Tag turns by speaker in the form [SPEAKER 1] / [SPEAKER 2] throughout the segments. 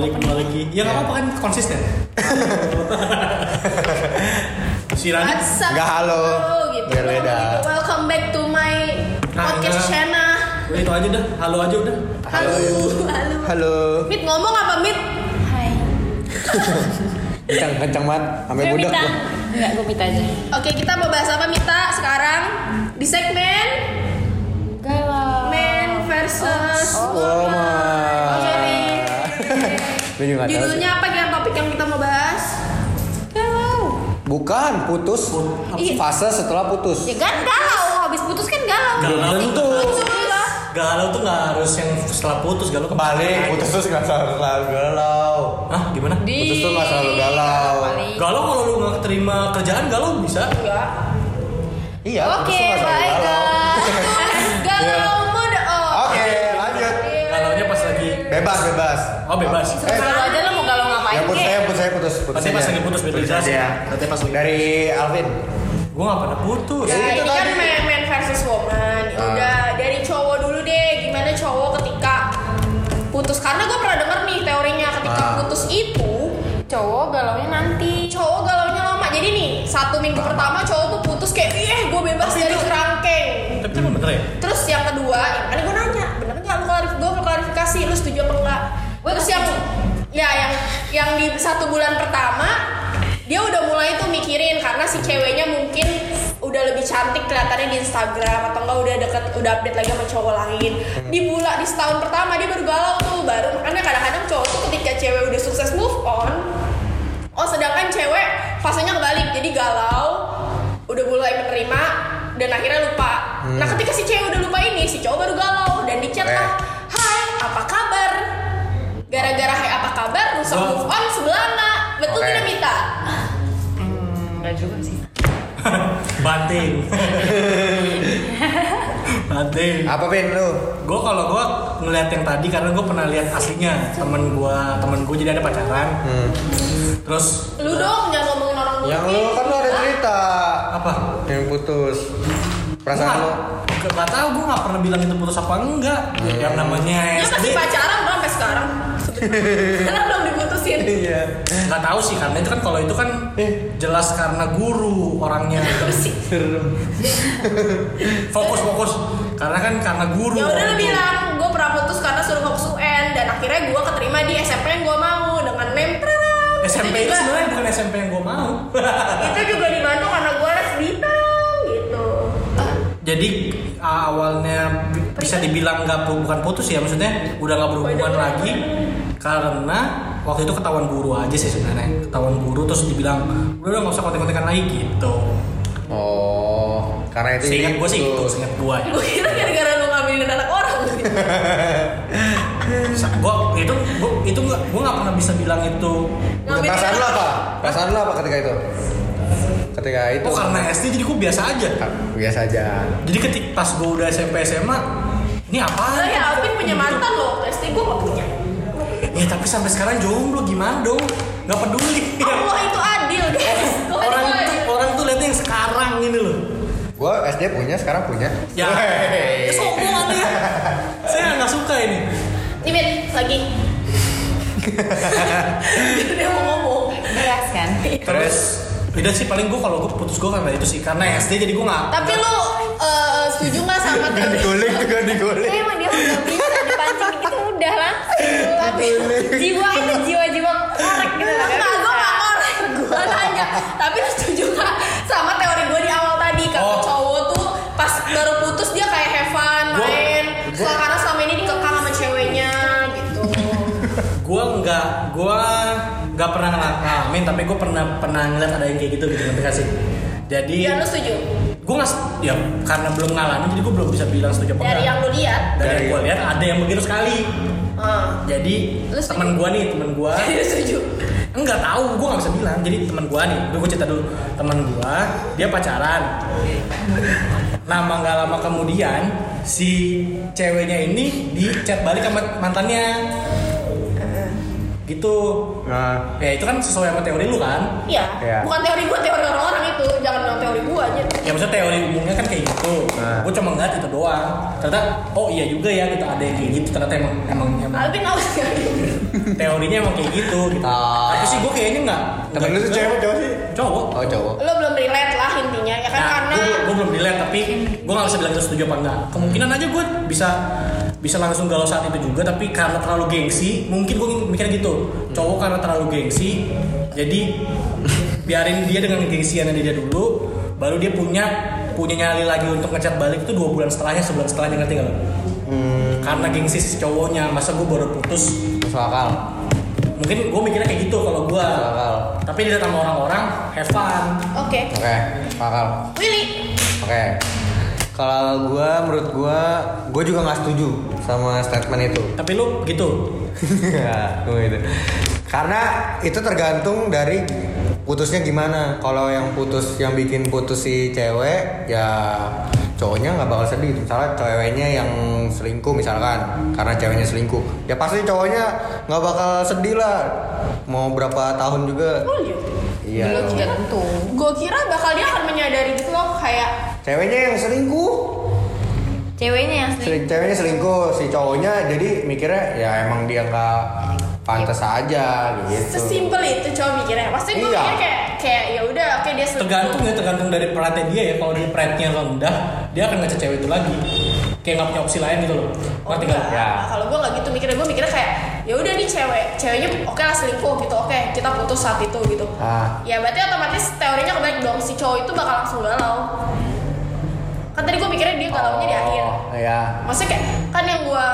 [SPEAKER 1] Gitu,
[SPEAKER 2] lagi ya nggak apa-apa kan konsisten Siran
[SPEAKER 1] What's up?
[SPEAKER 3] Nggak, halo.
[SPEAKER 1] Gitu.
[SPEAKER 3] Biar beda.
[SPEAKER 1] Welcome back to my podcast
[SPEAKER 2] Halo.
[SPEAKER 1] channel.
[SPEAKER 2] udah itu aja dah halo aja udah
[SPEAKER 1] Halo.
[SPEAKER 3] ya.
[SPEAKER 1] Halo.
[SPEAKER 3] Halo.
[SPEAKER 1] Mit ngomong apa Mit?
[SPEAKER 4] Hai.
[SPEAKER 3] Kencang kencang banget sampai
[SPEAKER 4] Gue
[SPEAKER 3] budak.
[SPEAKER 4] minta.
[SPEAKER 3] gua.
[SPEAKER 4] Enggak, gue minta aja.
[SPEAKER 1] Oke, kita mau bahas apa Mita sekarang? Di segmen
[SPEAKER 4] Galau.
[SPEAKER 1] Man versus
[SPEAKER 3] Oh,
[SPEAKER 1] Woman.
[SPEAKER 3] my.
[SPEAKER 1] Oh, sorry.
[SPEAKER 3] Lu juga nggak tahu.
[SPEAKER 1] Judulnya apa kira topik yang kita mau bahas?
[SPEAKER 4] Galau.
[SPEAKER 3] Bukan putus.
[SPEAKER 4] Iya.
[SPEAKER 3] Fase setelah putus.
[SPEAKER 4] Ya kan galau. Habis putus kan galau.
[SPEAKER 3] Belum
[SPEAKER 2] Galau.
[SPEAKER 3] tentu.
[SPEAKER 1] Alhamdulillah.
[SPEAKER 2] galau tuh nggak harus yang setelah putus galau kebalik
[SPEAKER 3] Balik putus tuh nggak selalu galau.
[SPEAKER 2] ah gimana
[SPEAKER 3] Putus tuh nggak selalu galau.
[SPEAKER 4] Kali.
[SPEAKER 2] galau kalau lu nggak terima kerjaan galau bisa
[SPEAKER 3] Iya. putus
[SPEAKER 4] Oke,
[SPEAKER 3] tuh nggak selalu
[SPEAKER 4] bye
[SPEAKER 3] galau.
[SPEAKER 4] guys.
[SPEAKER 1] Galau oh. mood off.
[SPEAKER 3] Oke, lanjut.
[SPEAKER 2] galau nya pas lagi
[SPEAKER 3] Bebas, bebas.
[SPEAKER 2] Oh, bebas.
[SPEAKER 3] Eh,
[SPEAKER 4] Galau aja lo mau galau ngapain
[SPEAKER 3] ya putus
[SPEAKER 4] kek?
[SPEAKER 3] saya,
[SPEAKER 1] Eh,
[SPEAKER 3] putus saya, putus. putus
[SPEAKER 2] Nanti pas
[SPEAKER 3] aja.
[SPEAKER 2] lagi putus, beda
[SPEAKER 3] Putus
[SPEAKER 2] jelas.
[SPEAKER 3] aja.
[SPEAKER 2] Nanti pas lagi-
[SPEAKER 3] Dari Alvin.
[SPEAKER 2] gue nggak pernah putus
[SPEAKER 3] Ya,
[SPEAKER 1] Nah,
[SPEAKER 3] itu
[SPEAKER 1] ini kan
[SPEAKER 3] tadi. Ah.
[SPEAKER 1] man, man versus woman. Ya udah dari cowok dulu deh, gimana cowok ketika putus? Karena gue pernah denger nih teorinya ketika
[SPEAKER 3] Ah.
[SPEAKER 1] putus itu
[SPEAKER 4] Cowok galaunya nanti.
[SPEAKER 1] cowok galaunya lama. Jadi nih satu minggu pertama cowok tuh putus kayak, eh gue bebas dari kerangkeng.
[SPEAKER 2] tapi itu emang bener ya
[SPEAKER 1] Terus yang kedua, yang kan gue nanya, bener nggak lu klarif gue mau klarifikasi, lu setuju apa enggak?
[SPEAKER 4] Gua
[SPEAKER 1] Terus yang ya yang yang di satu bulan pertama dia udah mulai tuh mikirin karena si ceweknya mungkin udah lebih cantik kelihatannya di Instagram atau enggak udah deket udah update lagi sama cowok lain di bulan di setahun pertama dia baru galau tuh baru makanya kadang-kadang cowok tuh ketika cewek udah sukses move on oh sedangkan cewek fasenya kebalik jadi galau udah mulai menerima dan akhirnya lupa
[SPEAKER 3] Hmm.
[SPEAKER 1] nah ketika si cewek udah lupa ini si cowok baru galau dan di chat
[SPEAKER 3] Oke.
[SPEAKER 1] lah
[SPEAKER 3] Eh.
[SPEAKER 1] hai apa kabar gara-gara hai apa kabar rusak
[SPEAKER 2] Wah.
[SPEAKER 1] move on sebelana betul
[SPEAKER 3] Oke.
[SPEAKER 1] tidak minta
[SPEAKER 4] Enggak juga sih.
[SPEAKER 2] banting banting
[SPEAKER 3] Apa Vin lu?
[SPEAKER 2] gue kalau gue ngeliat yang tadi karena gue pernah lihat aslinya temen gue temen gue jadi ada pacaran terus eh,
[SPEAKER 1] lu dong jangan ngomongin orang dulu
[SPEAKER 3] Hmm. Yang lu kan lu ada cerita
[SPEAKER 2] apa
[SPEAKER 3] yang putus. Perasaan lu?
[SPEAKER 2] Gak, gak tau gue gak pernah bilang itu putus apa enggak
[SPEAKER 3] Iya.
[SPEAKER 2] Yang namanya
[SPEAKER 1] dia masih
[SPEAKER 2] SD
[SPEAKER 1] pacaran kan sampai sekarang sebenarnya. karena belum diputusin
[SPEAKER 3] Iya.
[SPEAKER 2] Gak tau sih karena itu kan kalau itu kan
[SPEAKER 3] Eh.
[SPEAKER 2] jelas karena guru orangnya
[SPEAKER 1] Terus sih,
[SPEAKER 2] Fokus fokus Karena kan karena guru
[SPEAKER 1] ya udah lu
[SPEAKER 2] waktu itu.
[SPEAKER 1] bilang gue pernah putus karena suruh fokus UN dan akhirnya gue keterima di SMP yang gue mau dengan name terang.
[SPEAKER 2] SMP itu
[SPEAKER 1] juga-
[SPEAKER 2] sebenarnya bukan SMP yang gue mau
[SPEAKER 1] itu juga dibantu karena gue les bintang gitu
[SPEAKER 2] Jadi uh, awalnya bi- bisa dibilang nggak pu- bukan putus ya maksudnya udah nggak berhubungan lagi karena waktu itu ketahuan guru aja sih sebenarnya ketahuan guru terus dibilang udah udah nggak usah kontek-kontekan lagi gitu
[SPEAKER 3] Oh, karena itu
[SPEAKER 2] seingat gue sih itu
[SPEAKER 3] putus.
[SPEAKER 2] seingat gue ya
[SPEAKER 1] gue kira gara-gara lu ngambilin anak orang
[SPEAKER 2] Sa- gua itu gua itu nggak gua nggak pernah bisa bilang itu
[SPEAKER 1] Ngambilin
[SPEAKER 3] Perasaan lu
[SPEAKER 1] anak-
[SPEAKER 3] apa? Perasaan lu apa ketika itu? Ketika itu ah,
[SPEAKER 2] oh karena SD jadi gua biasa aja
[SPEAKER 3] biasa aja.
[SPEAKER 2] jadi ketik pas gua udah SMP SMA ini
[SPEAKER 1] Lah,
[SPEAKER 2] apa
[SPEAKER 1] ya Alvin punya mantan loh pasti gue gak punya
[SPEAKER 2] ya tapi sampai sekarang jomblo gimana dong nggak peduli
[SPEAKER 3] Iya.
[SPEAKER 1] Allah itu adil guys Tuhan
[SPEAKER 2] orang
[SPEAKER 1] itu
[SPEAKER 2] tuh
[SPEAKER 1] adil.
[SPEAKER 2] orang tuh liatnya yang sekarang ini loh
[SPEAKER 3] Gua SD punya, sekarang punya.
[SPEAKER 2] ya
[SPEAKER 3] Wey.
[SPEAKER 2] sombong ya saya nggak suka ini
[SPEAKER 1] nih Min lagi dia mau ngomong
[SPEAKER 4] Beras kan?
[SPEAKER 3] Terus
[SPEAKER 2] udah sih paling gua kalau gua putus gua karena itu sih karena SD jadi gua nggak
[SPEAKER 1] tapi lu eh, setuju gak sama teori
[SPEAKER 3] digoling juga digoling.
[SPEAKER 4] Saya Iya, emang dia udah bisa dipancing gitu udah lah. Tapi jiwa itu jiwa-jiwa korek gitu lah.
[SPEAKER 1] Enggak, gue gak korek Gue tanya Tapi lu setuju gak sama teori gue di awal tadi Kalau
[SPEAKER 2] Oh.
[SPEAKER 1] cowok tuh pas baru putus dia kayak have fun,
[SPEAKER 2] Gua-
[SPEAKER 1] main Soal karena selama ini dikekang sama ceweknya gitu
[SPEAKER 2] gue nggak gue nggak pernah ngalamin tapi gue pernah pernah ngeliat ada yang kayak gitu gitu ngerti gak sih jadi
[SPEAKER 1] Dan Iya, lu setuju?
[SPEAKER 2] gue nggak s- ya karena belum ngalamin jadi gue belum bisa bilang setuju apa
[SPEAKER 1] Dari
[SPEAKER 2] enggak.
[SPEAKER 1] yang lu lihat
[SPEAKER 2] dari yang
[SPEAKER 3] Dari-
[SPEAKER 2] gue lihat ada yang begitu sekali
[SPEAKER 1] Ah.
[SPEAKER 2] jadi
[SPEAKER 1] Lu setuju?
[SPEAKER 2] teman gue nih teman gue
[SPEAKER 1] Lu setuju?
[SPEAKER 2] enggak tahu gue nggak bisa bilang jadi teman gue nih gue cerita dulu teman gue dia pacaran lama nggak lama kemudian si ceweknya ini di chat balik sama mantannya gitu
[SPEAKER 3] Nah,
[SPEAKER 2] Ya itu kan sesuai sama teori lu kan?
[SPEAKER 1] Iya
[SPEAKER 3] Iya.
[SPEAKER 1] Bukan teori gue, teori orang-orang itu Jangan bilang teori gue aja
[SPEAKER 2] Ya maksudnya teori umumnya kan kayak gitu.
[SPEAKER 3] Nah.
[SPEAKER 2] Gue cuma ngeliat itu doang. Ternyata oh iya juga ya gitu ada yang kayak gitu. Ternyata emang emang emang.
[SPEAKER 1] Alvin aus ya
[SPEAKER 2] teorinya emang kayak gitu gitu
[SPEAKER 3] Ah.
[SPEAKER 2] tapi sih gue kayaknya nggak
[SPEAKER 3] Temen lu tuh cewek apa cowok sih?
[SPEAKER 2] cowok
[SPEAKER 3] Oh cowok.
[SPEAKER 1] Lo belum relate lah intinya ya kan
[SPEAKER 2] nah,
[SPEAKER 1] karena
[SPEAKER 2] gue, belum dilihat tapi gue nggak bisa bilang itu setuju apa enggak kemungkinan aja gue bisa bisa langsung galau saat itu juga tapi karena terlalu gengsi mungkin gue mikir gitu cowok karena terlalu gengsi jadi biarin dia dengan gengsiannya dia dulu baru dia punya punya nyali lagi untuk ngechat balik itu dua bulan setelahnya sebulan setelahnya ngerti nggak lo? karena gengsi si cowoknya masa gue baru putus
[SPEAKER 3] Hmm, Masuk akal.
[SPEAKER 2] mungkin gue mikirnya kayak gitu kalau gue
[SPEAKER 3] Masuk akal.
[SPEAKER 2] tapi dilihat sama orang-orang have fun
[SPEAKER 1] oke.
[SPEAKER 3] Oke, masuk akal.
[SPEAKER 1] Willy,
[SPEAKER 3] Oke. Kalau gua menurut gua gua juga nggak setuju sama statement itu.
[SPEAKER 2] tapi lu gitu
[SPEAKER 3] Ya, gua itu. Karena itu tergantung dari putusnya gimana. Kalau yang putus yang bikin putus si cewek ya cowoknya nggak bakal sedih. Misalnya ceweknya yang selingkuh misalkan karena ceweknya selingkuh. Ya pasti cowoknya nggak bakal sedih lah. Mau berapa tahun juga. Iya.
[SPEAKER 4] Belum
[SPEAKER 3] dong.
[SPEAKER 4] juga tentu.
[SPEAKER 1] gue kira bakal dia akan menyadari gitu loh kayak
[SPEAKER 3] Ceweknya yang selingkuh.
[SPEAKER 4] Ceweknya yang
[SPEAKER 3] Sering-
[SPEAKER 4] sering.
[SPEAKER 3] ceweknya selingkuh si cowoknya jadi mikirnya ya emang dia nggak pantas aja gitu
[SPEAKER 1] sesimpel itu cowok mikirnya. Pasti gue
[SPEAKER 3] Iya.
[SPEAKER 1] mikir kayak kayak ya udah oke dia selingkuh. Nah,
[SPEAKER 2] tergantung ya tergantung dari pride dia ya kalau dia pride-nya rendah dia akan ngajak cewek itu lagi kayak nggak punya opsi lain gitu loh
[SPEAKER 1] Oh,
[SPEAKER 2] ngerti
[SPEAKER 1] enggak.
[SPEAKER 2] nggak?
[SPEAKER 3] Ya.
[SPEAKER 1] Kalau gue nggak gitu mikirnya, gue mikirnya kayak ya udah nih cewek, ceweknya oke lah selingkuh gitu, oke kita putus saat itu gitu.
[SPEAKER 3] Ah.
[SPEAKER 1] Ya berarti otomatis teorinya kebalik dong si cowok itu bakal langsung galau. Kan tadi gue mikirnya dia galaunya di akhir.
[SPEAKER 3] Oh, ya
[SPEAKER 1] Maksudnya kayak kan yang gue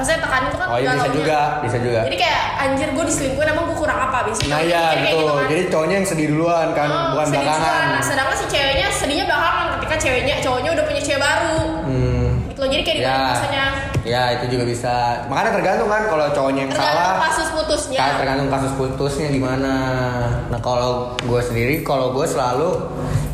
[SPEAKER 1] maksudnya tekanin itu kan
[SPEAKER 3] oh iya bisa
[SPEAKER 1] galaunya.
[SPEAKER 3] juga bisa juga
[SPEAKER 1] Jadi gitu kayak anjir gue diselingkuhin emang gue kurang apa biasanya.
[SPEAKER 3] nah ya betul
[SPEAKER 1] kan.
[SPEAKER 3] jadi cowoknya yang sedih duluan kan
[SPEAKER 1] Oh,
[SPEAKER 3] bukan belakangan
[SPEAKER 1] Nah, Sedangkan si ceweknya sedihnya belakangan ketika ceweknya cowoknya udah punya cewek baru.
[SPEAKER 3] hmm.
[SPEAKER 1] Gitu loh jadi kayak
[SPEAKER 3] ya
[SPEAKER 1] dibalik rasanya.
[SPEAKER 3] ya itu juga bisa makanya tergantung kan kalau cowoknya yang
[SPEAKER 1] Tergantung
[SPEAKER 3] salah
[SPEAKER 1] kasus ya. putusnya.
[SPEAKER 3] Kan tergantung kasus putusnya gimana. Nah kalau gue sendiri, kalau gue selalu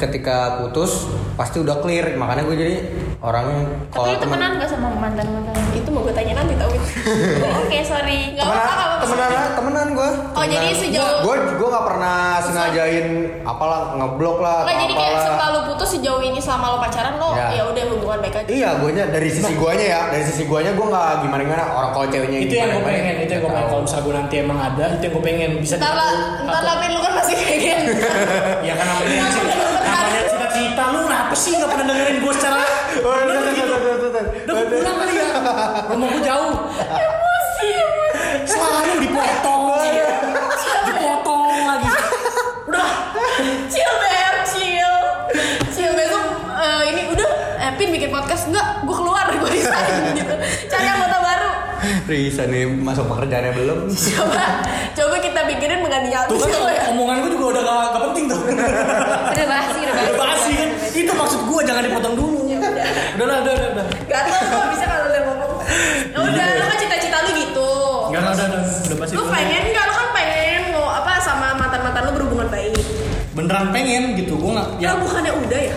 [SPEAKER 3] ketika putus pasti udah clear. Makanya gue jadi orangnya
[SPEAKER 4] Tapi
[SPEAKER 3] kalau
[SPEAKER 4] lu
[SPEAKER 3] Oh, temen
[SPEAKER 4] temenan gak sama mantan-mantan?
[SPEAKER 1] Itu mau gue tanya nanti tau Win.
[SPEAKER 4] Oh, Oke, sorry.
[SPEAKER 1] Nggak apa-apa, nggak
[SPEAKER 3] temenan
[SPEAKER 1] apa-apa.
[SPEAKER 3] temenan lah, temenan gue.
[SPEAKER 1] Oh, jadi sejauh-
[SPEAKER 3] gue gue nggak pernah sengajain apalah ngeblok lah.
[SPEAKER 1] Nggak,
[SPEAKER 3] atau
[SPEAKER 1] jadi kayak
[SPEAKER 3] apalah.
[SPEAKER 1] setelah lu putus sejauh ini selama lu pacaran lo
[SPEAKER 3] Ya.
[SPEAKER 1] ya udah hubungan baik aja.
[SPEAKER 3] Iya, gue dari sisi guanya ya, dari sisi guanya gue nggak gimana gimana. Orang kalau ceweknya
[SPEAKER 2] Nah. itu yang gue
[SPEAKER 3] gimana-gimana,
[SPEAKER 2] pengen itu yang gue
[SPEAKER 3] nggak
[SPEAKER 2] pengen
[SPEAKER 3] tahu.
[SPEAKER 2] kalau misalnya gue nanti emang ada itu yang gue pengen bisa
[SPEAKER 1] Entar lah,
[SPEAKER 2] diatur.
[SPEAKER 1] entar lah Vin, lu kan masih kayak gitu.
[SPEAKER 2] ya kan namanya namanya cita-cita lu kenapa sih nggak pernah dengerin gue secara
[SPEAKER 3] Oh,
[SPEAKER 2] bener
[SPEAKER 3] bentar,
[SPEAKER 2] gitu
[SPEAKER 3] bentar, bentar, bentar.
[SPEAKER 2] udah gue pulang kali ya rumah gue jauh
[SPEAKER 1] Emosi, emosi.
[SPEAKER 2] selalu dipotong dipotong lagi udah
[SPEAKER 1] Chill Ber, chill. Chill besok eh, ini udah eh, Pin bikin podcast enggak? Gue keluar, gue resign gitu. Cari anggota baru.
[SPEAKER 3] Risa nih masuk pekerjaannya belum?
[SPEAKER 1] Coba coba kita pikirin mengganti
[SPEAKER 2] tuh
[SPEAKER 1] Alvin.
[SPEAKER 2] kan
[SPEAKER 1] coba ya.
[SPEAKER 2] omongan gue juga udah gak, gak penting tuh
[SPEAKER 4] Udah basi, udah basi.
[SPEAKER 2] Udah basi kan? Itu maksud gue jangan dipotong dulu.
[SPEAKER 1] Iya,
[SPEAKER 2] Udah lah, udah, udah, udah.
[SPEAKER 1] Gak tau gak bisa kalau udah ngomong. Ya udah,
[SPEAKER 2] Iya.
[SPEAKER 1] lu kan cita-cita lu gitu.
[SPEAKER 2] Enggak lah, udah, udah, udah basi.
[SPEAKER 1] Lu
[SPEAKER 2] dulu.
[SPEAKER 1] pengen nggak? Lu kan pengen mau apa sama mantan-mantan lu berhubungan baik.
[SPEAKER 2] Beneran pengen gitu, gue nggak, ya
[SPEAKER 1] Ya bukannya udah ya?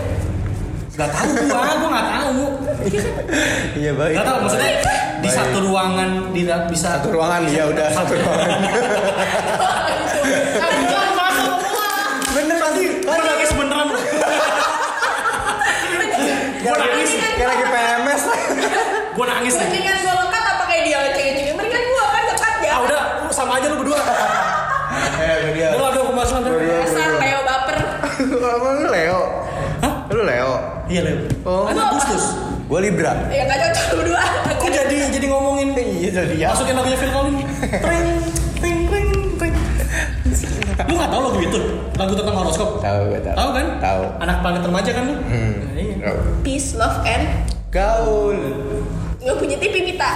[SPEAKER 2] nggak tahu gue, gue nggak tahu.
[SPEAKER 3] Iya baik.
[SPEAKER 2] Nggak tahu maksudnya di
[SPEAKER 3] Baik.
[SPEAKER 2] satu ruangan di bisa
[SPEAKER 3] satu ruangan ya udah satu ruangan.
[SPEAKER 1] gitu. Nah, bukan masuk semua.
[SPEAKER 3] Bener pasti.
[SPEAKER 2] Gue nangis beneran.
[SPEAKER 3] Gak lagi, gak lagi PMS.
[SPEAKER 2] Gue nangis. nih.
[SPEAKER 1] Mendingan gue lekat apa kayak dia lecek-lecek? Mendingan gue kan lekat ya.
[SPEAKER 2] Ah udah, lu sama aja lu berdua.
[SPEAKER 3] Eh, gue dia.
[SPEAKER 2] Udah lah, udah pembahasan. kan? udah.
[SPEAKER 3] Berdua.
[SPEAKER 1] Dasar Leo baper.
[SPEAKER 3] Emang lu Leo?
[SPEAKER 2] Hah?
[SPEAKER 3] Lu Leo?
[SPEAKER 2] Iya Leo.
[SPEAKER 3] Oh.
[SPEAKER 2] Kan Agustus.
[SPEAKER 3] Gue Libra.
[SPEAKER 1] Ya nggak cocok berdua.
[SPEAKER 2] Kok jadi jadi ngomongin
[SPEAKER 3] Iya jadi ya.
[SPEAKER 2] masukin lagunya Phil Collins. Tring, tring, tring, tring. Lu nggak tahu lagu itu? Lagu tentang horoskop?
[SPEAKER 3] Tahu gue tahu.
[SPEAKER 2] Tahu kan?
[SPEAKER 3] Tahu.
[SPEAKER 2] Anak planet remaja kan lu?
[SPEAKER 3] Hmm.
[SPEAKER 2] Nah, iya.
[SPEAKER 3] Tahu.
[SPEAKER 1] Peace, love, and
[SPEAKER 3] Gaul.
[SPEAKER 1] nggak punya TV Mita.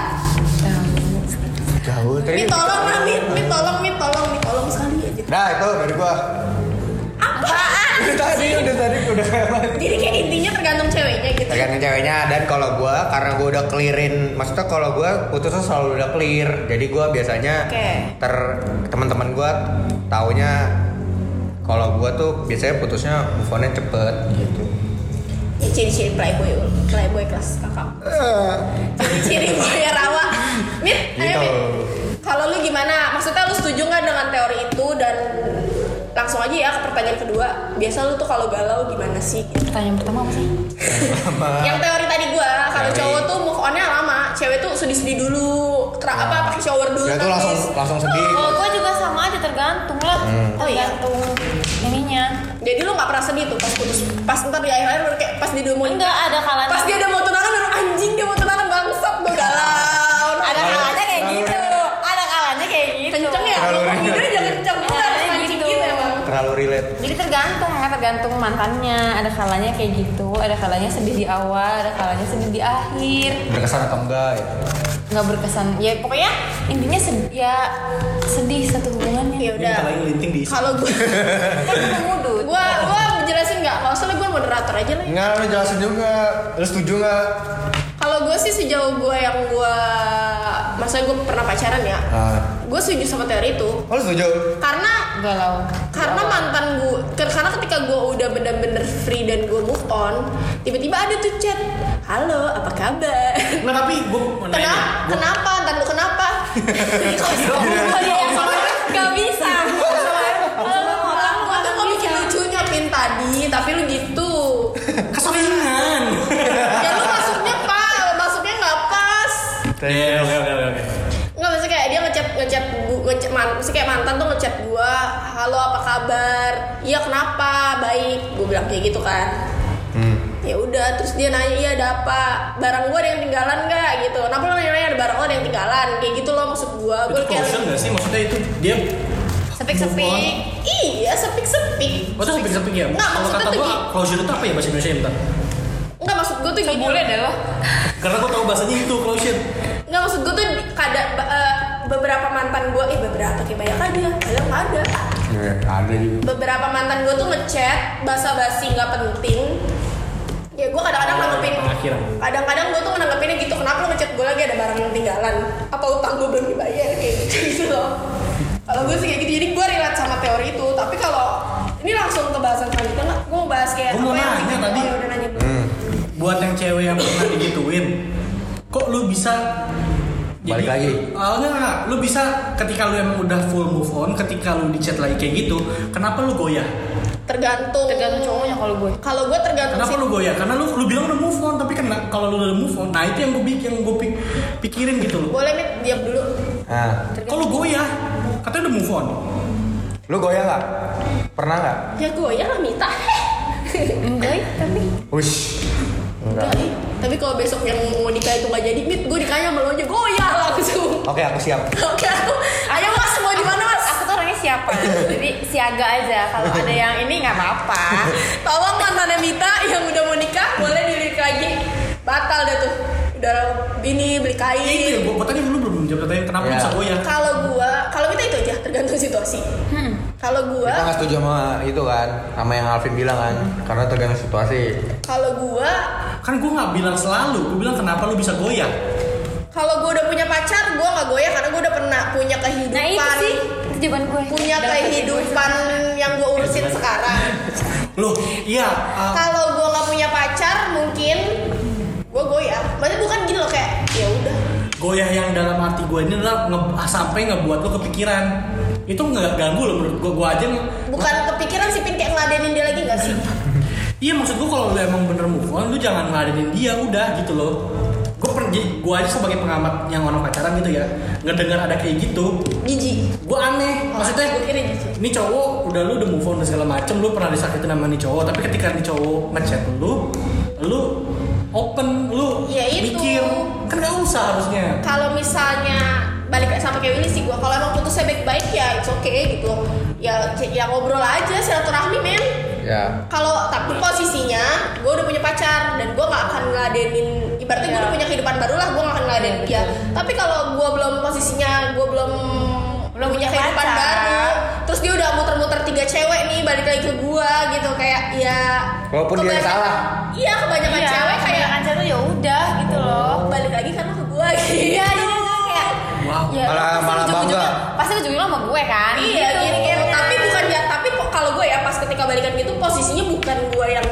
[SPEAKER 3] Gaul.
[SPEAKER 1] Mit tolong lah, Mit, Mit tolong, Mit tolong, Mit tolong sekali aja.
[SPEAKER 3] Nah itu dari gua.
[SPEAKER 1] Apaan?
[SPEAKER 3] Udah tadi udah tadi udah kayak
[SPEAKER 1] Jadi kayak intinya tergantung ceweknya gitu.
[SPEAKER 3] tergantung ceweknya dan kalau gua karena gua udah clearin maksudnya kalau gua putusnya selalu udah clear jadi gua biasanya
[SPEAKER 1] Oke.
[SPEAKER 3] ter teman-teman gua taunya kalau gua tuh biasanya putusnya move onnya cepet gitu
[SPEAKER 1] Ya ciri-ciri playboy, playboy kelas kakak. Ciri-ciri boy rawa. Mit, ayo
[SPEAKER 3] Gitu.
[SPEAKER 1] Mit. Iya, Kalau lu gimana? Maksudnya lu setuju nggak dengan teori itu dan langsung aja ya ke pertanyaan kedua. Biasa lu tuh kalau galau gimana sih?
[SPEAKER 4] Pertanyaan pertama apa sih?
[SPEAKER 1] Yang teori tadi gua, kalau
[SPEAKER 3] Teori.
[SPEAKER 1] cowok tuh move onnya lama, cewek tuh sedih-sedih dulu, tra- apa pakai shower dulu.
[SPEAKER 3] Ya itu
[SPEAKER 1] nangis.
[SPEAKER 3] langsung langsung sedih.
[SPEAKER 4] Kalau gue Oh, juga sama aja tergantung lah,
[SPEAKER 1] Oh, iya.
[SPEAKER 4] tergantung ininya.
[SPEAKER 1] Jadi lu gak pernah sedih tuh pas putus, pas ntar di akhir-akhir baru kayak pas di dua mau
[SPEAKER 4] Enggak ada kalanya.
[SPEAKER 1] pas dia udah mau tunangan baru anjing dia mau tunangan bangsat gue galau. Nah,
[SPEAKER 4] ada kalanya kayak gitu, ada kalanya kayak gitu.
[SPEAKER 1] Kenceng ya,
[SPEAKER 3] Terlalu
[SPEAKER 1] ngomong
[SPEAKER 3] ringan.
[SPEAKER 1] tidurnya jangan kenceng
[SPEAKER 4] Iya,
[SPEAKER 1] banget,
[SPEAKER 4] kayak
[SPEAKER 1] mancing
[SPEAKER 4] gitu.
[SPEAKER 1] gitu emang.
[SPEAKER 3] Terlalu relate.
[SPEAKER 4] Jadi tergantung, nggak tergantung mantannya. Ada kalanya kayak gitu, ada kalanya sedih di awal, ada kalanya sedih di akhir.
[SPEAKER 3] Berkesan atau enggak gitu.
[SPEAKER 4] Nggak berkesan. Ya pokoknya intinya sedih, ya sedih satu hubungannya.
[SPEAKER 1] Ya
[SPEAKER 4] Ya,
[SPEAKER 1] udah.
[SPEAKER 2] Ini lain linting di
[SPEAKER 1] Kalau gue,
[SPEAKER 4] kan gue mudut.
[SPEAKER 1] gue, gue jelasin nggak? Nggak usah lah, gue moderator aja lah. ya.
[SPEAKER 3] Enggak, lu jelasin juga. Lu setuju enggak?
[SPEAKER 1] Kalau gue sih sejauh gue yang gue, maksudnya gue pernah pacaran ya.
[SPEAKER 3] Ah.
[SPEAKER 1] Gue setuju sama teori itu,
[SPEAKER 3] Oh, lu setuju?
[SPEAKER 1] karena
[SPEAKER 4] galau.
[SPEAKER 1] karena mantan gue karena ketika gue udah bener-bener free dan gue move on tiba-tiba ada tuh chat halo apa kabar
[SPEAKER 2] Nggak, tapi gue mau nanya.
[SPEAKER 1] kenapa kenapa ntar lu kenapa
[SPEAKER 4] Oh, iya, yang salah. Nggak bisa. Kalau mau
[SPEAKER 1] Orang
[SPEAKER 4] tahu,
[SPEAKER 1] gue tuh mau bikin lucunya pin tadi tapi lu gitu
[SPEAKER 2] Keseringan.
[SPEAKER 1] ya lu maksudnya pak maksudnya nggak pas
[SPEAKER 2] Iya, oke, oke, oke, oke.
[SPEAKER 1] Nggak maksudnya kayak dia ngechat ngechat gue ngechat man, maksudnya kayak mantan tuh ngechat gue halo apa kabar iya kenapa baik gue bilang kayak gitu kan
[SPEAKER 3] Hmm.
[SPEAKER 1] ya udah terus dia nanya iya ada apa barang gue ada yang tinggalan nggak gitu kenapa lo nanya ada barang lo ada yang tinggalan kayak gitu loh maksud gue gue
[SPEAKER 2] Itu
[SPEAKER 1] kayak
[SPEAKER 2] closer nggak sih? Maksudnya itu dia
[SPEAKER 4] Sepik-sepik.
[SPEAKER 1] iya sepik sepik
[SPEAKER 2] Oh itu sepik-sepik ya?
[SPEAKER 1] Nggak,
[SPEAKER 2] Kalau
[SPEAKER 1] maksudnya
[SPEAKER 2] kata
[SPEAKER 1] tuh
[SPEAKER 2] gue
[SPEAKER 1] gini.
[SPEAKER 2] closure itu apa ya bahasa Indonesia ya bentar?
[SPEAKER 1] nggak maksud gue tuh gini
[SPEAKER 4] Boleh deh lo.
[SPEAKER 2] Karena gue tau bahasanya itu closure
[SPEAKER 1] nggak maksud gue tuh kada eh, beberapa mantan gue eh beberapa kayak banyak ada ada nggak ada
[SPEAKER 3] Ya, ada juga.
[SPEAKER 1] beberapa mantan gue tuh ngechat basa basi nggak penting ya gue kadang-kadang nanggepin
[SPEAKER 2] Akhiran.
[SPEAKER 1] kadang-kadang gue tuh menanggepinnya gitu kenapa lo ngechat gue lagi ada barang yang tinggalan apa utang gue belum dibayar kayak gitu, gitu loh kalau gue sih kayak gitu jadi gue relate sama teori itu tapi kalau ini langsung ke bahasan selanjutnya nggak gue mau bahas kayak
[SPEAKER 2] Gua mau
[SPEAKER 1] apa yang
[SPEAKER 2] nanya
[SPEAKER 1] bikin-
[SPEAKER 2] tadi. Hmm.
[SPEAKER 1] oh, ya udah nanya dulu
[SPEAKER 2] Buat yang cewek yang pernah digituin Kok lu bisa
[SPEAKER 3] Balik lagi.
[SPEAKER 2] Ah, enggak, enggak. Lu bisa ketika lu emang udah full move on Ketika lu di chat lagi kayak gitu Kenapa lu goyah?
[SPEAKER 1] tergantung
[SPEAKER 4] Tergantung cowoknya kalau gue.
[SPEAKER 1] kalau gue tergantung
[SPEAKER 2] Kenapa
[SPEAKER 1] sih
[SPEAKER 2] lu goyah? Karena lu lu bilang udah move on Tapi kan kalau lu udah move on Nah itu yang gue yang gua pik- pikirin gitu loh
[SPEAKER 1] boleh nih diam dulu
[SPEAKER 3] Nah,
[SPEAKER 2] Kok lu goyah? Katanya udah move on
[SPEAKER 3] lu goyah enggak? Pernah enggak?
[SPEAKER 1] ya gue ya lah minta
[SPEAKER 4] Enggak, tapi
[SPEAKER 3] Wush.
[SPEAKER 4] Nah.
[SPEAKER 3] Enggak.
[SPEAKER 1] tapi kalau besok yang mau nikah itu nggak jadi mit gue nikahnya sama lo aja gue ya langsung
[SPEAKER 3] Oke, aku siap.
[SPEAKER 1] Oke, aku ayo mas mau di mana mas?
[SPEAKER 4] aku tuh orangnya siapa jadi siaga aja kalau ada yang ini nggak apa-apa
[SPEAKER 1] Tolong mantannya Mita yang udah mau nikah boleh dilirik lagi. Batal dah tuh. Udah bini beli
[SPEAKER 2] Ya itu ya,
[SPEAKER 1] kain.
[SPEAKER 2] gue tanya dulu belum jawab pertanyaan Kenapa lu
[SPEAKER 3] Iya.
[SPEAKER 2] bisa goyah?
[SPEAKER 1] Kalau gua, kalau Mita itu aja tergantung situasi.
[SPEAKER 4] Hmm.
[SPEAKER 1] Kalau
[SPEAKER 3] Kita
[SPEAKER 1] gua,
[SPEAKER 3] nggak setuju sama itu kan, sama yang Alvin bilang kan, karena tergantung situasi.
[SPEAKER 4] Nah.
[SPEAKER 1] kalau gua,
[SPEAKER 2] Kan gue gak bilang selalu Gue bilang kenapa lu bisa goyah?
[SPEAKER 1] kalau gua udah punya pacar, gua nggak goyah karena gua udah pernah punya kehidupan.
[SPEAKER 4] nah itu sih itu jawaban gue
[SPEAKER 1] punya kehidupan yang gua urusin sekarang.
[SPEAKER 2] Loh, iya. ah,
[SPEAKER 1] Kalau gua nggak punya pacar, mungkin gua goyah. Maksudnya bukan gini loh kayak ya udah
[SPEAKER 2] goyah yang dalam hati gue ini adalah nge- ah, sampai ngebuat lo kepikiran. Itu nggak ganggu lo menurut gue. Gue aja nge-
[SPEAKER 1] bukan kepikiran sih pin kayak ngeladenin dia lagi gak sih
[SPEAKER 2] Iya maksud gue kalau lo emang bener move on, lo jangan ngeladenin dia udah gitu loh. Gue pergi, gue aja sebagai pengamat yang orang pacaran gitu ya, ngedengar ada kayak gitu,
[SPEAKER 1] jijik
[SPEAKER 2] gue aneh. Maksudnya
[SPEAKER 1] gue Oh, kira gitu. jijik
[SPEAKER 2] ini cowok udah lu udah move on dan segala macem lu pernah disakitin sama nih cowok tapi ketika nih cowok ngechat lu lu open lu
[SPEAKER 1] Ya, itu.
[SPEAKER 2] mikir kan gak usah harusnya
[SPEAKER 1] kalau misalnya balik sama kayak Willy sih gue kalau emang putusnya baik-baik ya it's okay gitu ya ya ngobrol aja silaturahmi men
[SPEAKER 3] Ya.
[SPEAKER 1] kalau tapi posisinya gue udah punya pacar dan gue nggak akan ngeladenin ibaratnya gue
[SPEAKER 4] Iya.
[SPEAKER 1] udah punya kehidupan baru lah gue nggak akan ngeladenin
[SPEAKER 4] Iya,
[SPEAKER 1] dia
[SPEAKER 4] betul.
[SPEAKER 1] tapi kalau gue belum posisinya gue belum
[SPEAKER 4] Belum
[SPEAKER 1] punya
[SPEAKER 4] punya
[SPEAKER 1] kehidupan
[SPEAKER 4] pacar.
[SPEAKER 1] baru terus dia udah muter-muter tiga cewek nih balik lagi ke gue gitu kayak ya
[SPEAKER 3] Walaupun dia yang
[SPEAKER 1] kebanyakan-
[SPEAKER 3] salah.
[SPEAKER 1] iya kebanyakan cewek kayak
[SPEAKER 4] aja tuh ya udah gitu loh
[SPEAKER 1] balik lagi kan lu ke gue gitu
[SPEAKER 4] iya jadi tuh kayak
[SPEAKER 2] Wow.
[SPEAKER 4] ya,
[SPEAKER 3] Malah-
[SPEAKER 4] pasti
[SPEAKER 3] malah
[SPEAKER 4] ujung-ujungnya-
[SPEAKER 3] bangga.
[SPEAKER 4] pasti ujungnya sama gue kan
[SPEAKER 1] Iya
[SPEAKER 4] Gitu.
[SPEAKER 1] gitu. Tapi bukan ya, tapi po- kalau gue ya pas ketika balikan gitu posisinya bukan gue yang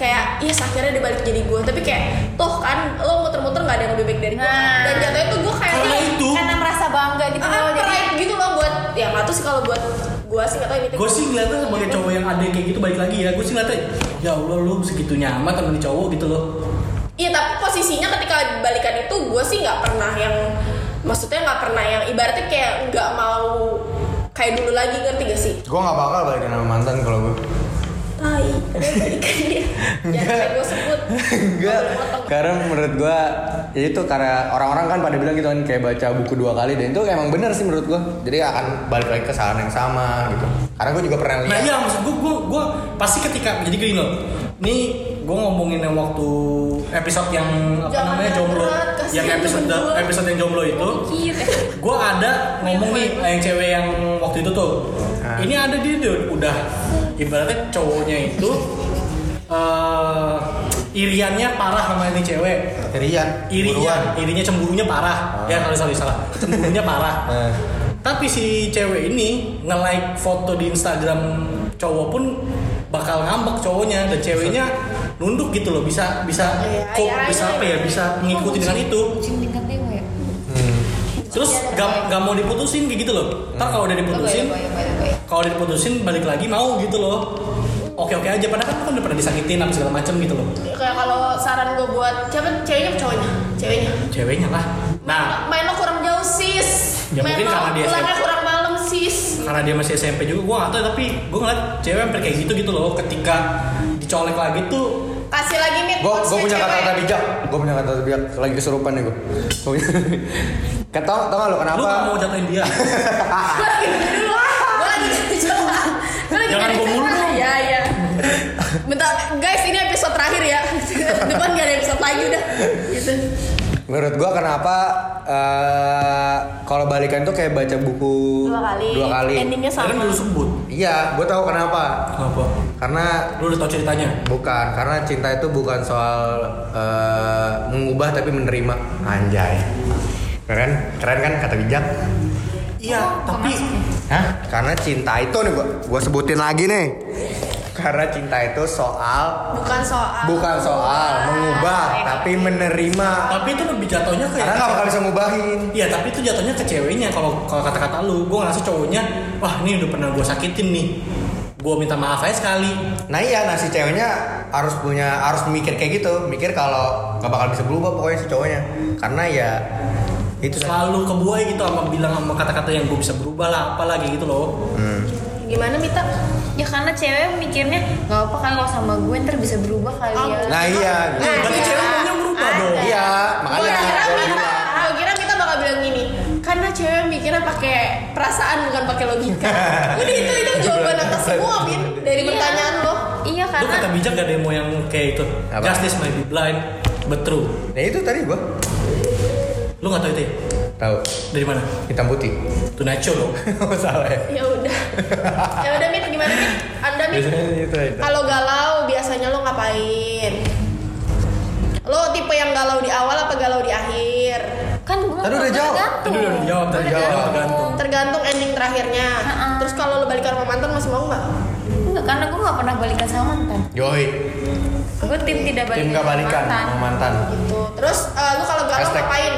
[SPEAKER 1] kayak iya akhirnya dia balik jadi gue tapi kayak toh kan lo muter-muter nggak ada yang lebih baik dari gue kan?
[SPEAKER 4] Nah.
[SPEAKER 1] dan jatuhnya tuh gue kayak
[SPEAKER 2] Kalau itu
[SPEAKER 4] karena merasa bangga gitu
[SPEAKER 1] ah,
[SPEAKER 4] loh jadi
[SPEAKER 1] pride gitu loh buat ya nggak tuh sih kalau buat gue sih nggak tahu ini
[SPEAKER 2] gue sih ngeliatnya sebagai cowok yang ada yang kayak gitu balik lagi ya gue sih ngeliatnya ya allah lu segitunya amat sama nih cowok gitu loh
[SPEAKER 1] Iya tapi posisinya ketika balikan itu gue sih nggak pernah yang maksudnya nggak pernah yang ibaratnya kayak nggak mau kayak dulu lagi ngerti gak sih?
[SPEAKER 3] Gue gak bakal balikan sama mantan kalau gue
[SPEAKER 1] Tai, ada balikan dia. Jangan kayak gue sebut.
[SPEAKER 3] Enggak
[SPEAKER 1] Gua potong.
[SPEAKER 3] Karena menurut gue ya itu karena orang-orang kan pada bilang gitu kan Kayak baca buku dua kali Dan itu emang bener sih menurut gue Jadi akan balik lagi ke saran yang sama gitu Karena gue juga pernah
[SPEAKER 2] Nah
[SPEAKER 3] lihat
[SPEAKER 2] iya maksud gue, gue, gue pasti ketika jadi gini loh. Ini gue ngomongin yang waktu episode yang apa
[SPEAKER 1] Jangan
[SPEAKER 2] namanya
[SPEAKER 1] yang
[SPEAKER 2] jomblo,
[SPEAKER 1] berat, kasihan
[SPEAKER 2] yang episode
[SPEAKER 1] temen gua.
[SPEAKER 2] episode yang jomblo itu,
[SPEAKER 4] Mikir.
[SPEAKER 2] gue ada
[SPEAKER 1] Oh,
[SPEAKER 2] ngomong nih yang cewek yang waktu itu tuh. Ini ada dia dia udah ibaratnya cowoknya itu eh iriannya parah sama ini cewek.
[SPEAKER 3] Irian buruan.
[SPEAKER 2] Irinya, irinya cemburunya parah. Ya kalau salah salah, cemburunya parah.
[SPEAKER 3] Eh,
[SPEAKER 2] Tapi si cewek ini nge-like foto di Instagram cowok pun bakal ngambek cowoknya dan ceweknya nunduk gitu loh bisa bisa
[SPEAKER 1] Iya,
[SPEAKER 2] cope,
[SPEAKER 1] iya,
[SPEAKER 2] bisa
[SPEAKER 1] iya.
[SPEAKER 2] apa ya bisa mengikuti dengan itu
[SPEAKER 4] Kucing tingkat dewa ya.
[SPEAKER 3] hmm.
[SPEAKER 2] terus gak, gak mau diputusin kayak gitu loh ntar kalau udah diputusin
[SPEAKER 4] Lebay, lebay, lebay.
[SPEAKER 2] kalau udah diputusin balik lagi mau gitu loh oke oke aja padahal kan lu kan udah pernah disakitin apa segala macem gitu loh
[SPEAKER 1] Kayak kalau saran gue buat siapa ceweknya apa cowoknya? Ceweknya.
[SPEAKER 2] ceweknya lah nah
[SPEAKER 1] Main lo kurang jauh sis.
[SPEAKER 2] Ya,
[SPEAKER 1] Main
[SPEAKER 2] mungkin
[SPEAKER 1] lo
[SPEAKER 2] karena dia
[SPEAKER 1] pulangnya
[SPEAKER 2] SMP.
[SPEAKER 1] kurang malam sis.
[SPEAKER 2] karena dia masih SMP juga gue gak tau tapi gue ngeliat cewek hampir kayak gitu gitu loh ketika dicolek lagi tuh
[SPEAKER 1] Kasih lagi nih.
[SPEAKER 3] Gue
[SPEAKER 1] quotes
[SPEAKER 3] gue
[SPEAKER 1] ke
[SPEAKER 3] punya
[SPEAKER 1] cewek.
[SPEAKER 3] kata-kata bijak. Gue punya kata-kata bijak. Lagi kesurupan nih gue. Kata Kan tau tau gak lo kenapa?
[SPEAKER 2] lu gak mau jatuhin dia
[SPEAKER 1] Gue lagi ganti dulu ah. Gue lagi ganti coba. Gue lagi
[SPEAKER 2] Jangan
[SPEAKER 1] ganti
[SPEAKER 2] gua mulu
[SPEAKER 1] coba.
[SPEAKER 2] dong.
[SPEAKER 1] Ya ya. Bentar guys ini episode terakhir ya. Depan gak ada episode lagi udah. Gitu.
[SPEAKER 3] Menurut gue kenapa eh, kalau balikan tuh kayak baca buku
[SPEAKER 1] Dua kali.
[SPEAKER 3] Dua kali.
[SPEAKER 1] Endingnya
[SPEAKER 2] Kalian
[SPEAKER 1] sama.
[SPEAKER 2] dulu sebut
[SPEAKER 3] Iya, gue tahu kenapa.
[SPEAKER 2] Kenapa?
[SPEAKER 3] Karena
[SPEAKER 2] Lu udah tau ceritanya?
[SPEAKER 3] bukan karena cinta itu bukan soal eh, mengubah tapi menerima. Anjay. Keren, keren kan kata bijak.
[SPEAKER 2] Iya, tapi
[SPEAKER 3] Hah? Karena cinta itu nih gue gue sebutin lagi nih. Karena cinta itu soal
[SPEAKER 1] Bukan soal.
[SPEAKER 3] bukan soal mengubah tapi menerima
[SPEAKER 2] tapi itu lebih jatuhnya kayak
[SPEAKER 3] karena nggak bakal bisa ngubahin
[SPEAKER 2] Iya, tapi itu jatuhnya ke ceweknya kalau kalau kata-kata lu. Gua ngerasa cowoknya, wah ini udah pernah gua sakitin nih. Gua minta maaf aja sekali.
[SPEAKER 3] nah iya nah si ceweknya harus punya harus mikir kayak gitu mikir kalau nggak bakal bisa berubah pokoknya si cowoknya karena ya itu
[SPEAKER 4] Iya.
[SPEAKER 2] Selalu kebuai gitu sama bilang sama kata-kata yang gua bisa berubah lah, apalagi gitu loh.
[SPEAKER 1] Gimana Mita?
[SPEAKER 4] Ya karena cewek mikirnya nggak apa kali kalau sama gue ntar bisa berubah kali ya.
[SPEAKER 3] nah iya
[SPEAKER 2] Nah,
[SPEAKER 3] gitu.
[SPEAKER 2] berarti
[SPEAKER 1] iya.
[SPEAKER 2] cewek maunya berubah
[SPEAKER 4] Ada.
[SPEAKER 2] dong.
[SPEAKER 3] iya
[SPEAKER 1] Gue
[SPEAKER 3] makanya Nah, iya.
[SPEAKER 1] kira
[SPEAKER 3] gua
[SPEAKER 1] Mita.
[SPEAKER 3] bilang.
[SPEAKER 1] Gue kira Mita bakal bilang gini. Karena cewek mikirnya pakai perasaan bukan pakai logika. Udah itu itu jawaban atas semua Min dari
[SPEAKER 4] Iya.
[SPEAKER 1] pertanyaan lo.
[SPEAKER 4] Iya
[SPEAKER 2] Lu
[SPEAKER 4] karena
[SPEAKER 2] kata bijak gak ada yang mau yang kayak itu.
[SPEAKER 3] Apa?
[SPEAKER 2] Justice may be blind, but true.
[SPEAKER 3] nah itu tadi gua
[SPEAKER 2] Lu gak tau itu ya?
[SPEAKER 3] tahu
[SPEAKER 2] Dari mana?
[SPEAKER 3] hitam putih
[SPEAKER 2] Tonight show dong.
[SPEAKER 3] salah ya
[SPEAKER 1] Ya udah. Ya udah Mit gimana Mit? Anda Mit?
[SPEAKER 3] biasanya gitu. itu aja
[SPEAKER 1] Kalau galau biasanya lo ngapain? Lo tipe yang galau di awal apa galau di akhir?
[SPEAKER 4] kan gue
[SPEAKER 3] Tadi udah jawab.
[SPEAKER 2] Tadi udah dijawab, tadi
[SPEAKER 4] Udah
[SPEAKER 2] jawab,
[SPEAKER 4] gantung.
[SPEAKER 2] gantung.
[SPEAKER 1] Tergantung ending terakhirnya.
[SPEAKER 4] Ha-ha.
[SPEAKER 1] Terus kalau lo balikan sama mantan masih mau nggak?
[SPEAKER 4] Enggak, karena gue gak pernah balikan sama mantan
[SPEAKER 3] Yoi,
[SPEAKER 4] Gue tim tidak balikan
[SPEAKER 3] tim nggak
[SPEAKER 4] sama
[SPEAKER 3] balikan
[SPEAKER 4] mantan.
[SPEAKER 3] sama mantan.
[SPEAKER 1] Gitu. Terus eh, lo kalau galau
[SPEAKER 3] Hashtag.
[SPEAKER 1] ngapain?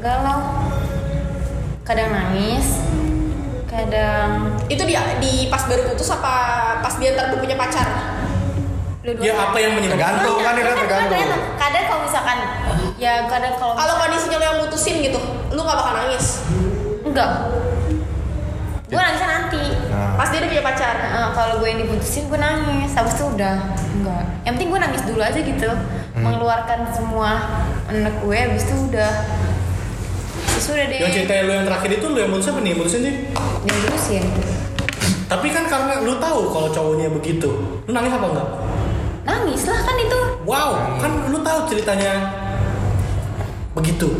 [SPEAKER 4] Galau Kadang nangis Kadang
[SPEAKER 1] Itu di, di pas baru putus apa pas dia ntar udah punya pacar?
[SPEAKER 2] Ya
[SPEAKER 4] dua-duanya.
[SPEAKER 2] apa yang menyebabkan?
[SPEAKER 3] Tergantung kan itu
[SPEAKER 4] Kadang-
[SPEAKER 3] tergantung.
[SPEAKER 4] kadang- Kadang kalau misalkan Ya kadang kalau
[SPEAKER 1] Kalau kondisinya lo yang putusin gitu, lo nggak bakal nangis.
[SPEAKER 4] Enggak Gue nangisnya nanti
[SPEAKER 3] Nah.
[SPEAKER 1] Pas dia udah punya pacar.
[SPEAKER 4] Nah, kalau gue yang diputusin gue nangis Habis itu udah Enggak Yang penting gue nangis dulu aja gitu Mengeluarkan semua anak gue Habis itu udah Terus udah deh
[SPEAKER 2] Yang cerita lu yang terakhir itu lu yang mutusin apa nih? Mutusin sih?
[SPEAKER 4] Yang diputusin
[SPEAKER 2] Tapi kan karena lu tahu kalau cowoknya begitu, lu nangis apa enggak?
[SPEAKER 4] Nangis lah kan itu
[SPEAKER 2] Wow, kan lu tahu ceritanya begitu.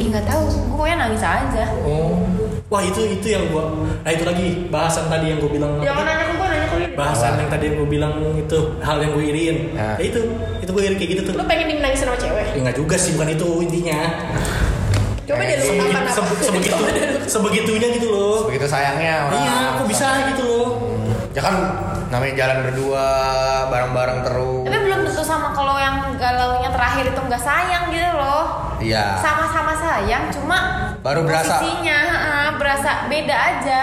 [SPEAKER 4] Ih nggak tahu, gue pokoknya nangis aja.
[SPEAKER 2] Oh. Wah itu itu yang gua. Nah itu lagi bahasan tadi yang gua bilang.
[SPEAKER 1] Jangan nanya ke gue, nanya ke dia.
[SPEAKER 2] Bahasan yang tadi yang gua bilang itu hal yang gua iriin.
[SPEAKER 3] Ya.
[SPEAKER 2] Ya itu itu gua iri kayak gitu tuh.
[SPEAKER 1] Lo pengen dimenangin sama cewek?
[SPEAKER 2] Ya enggak juga sih bukan itu intinya.
[SPEAKER 1] Coba deh lo
[SPEAKER 2] Sebegitu,
[SPEAKER 1] apa?
[SPEAKER 2] se- sebegitu, sebegitunya gitu loh.
[SPEAKER 3] Begitu sayangnya orang.
[SPEAKER 2] Iya, aku bisa gitu loh.
[SPEAKER 3] Ya kan namanya jalan berdua, bareng-bareng terus.
[SPEAKER 4] Tapi belum tentu sama kalau yang galaunya terakhir itu nggak sayang gitu loh.
[SPEAKER 3] Iya.
[SPEAKER 4] Sama-sama sayang, cuma
[SPEAKER 3] Baru berasa.
[SPEAKER 4] Posisinya ah, berasa beda aja.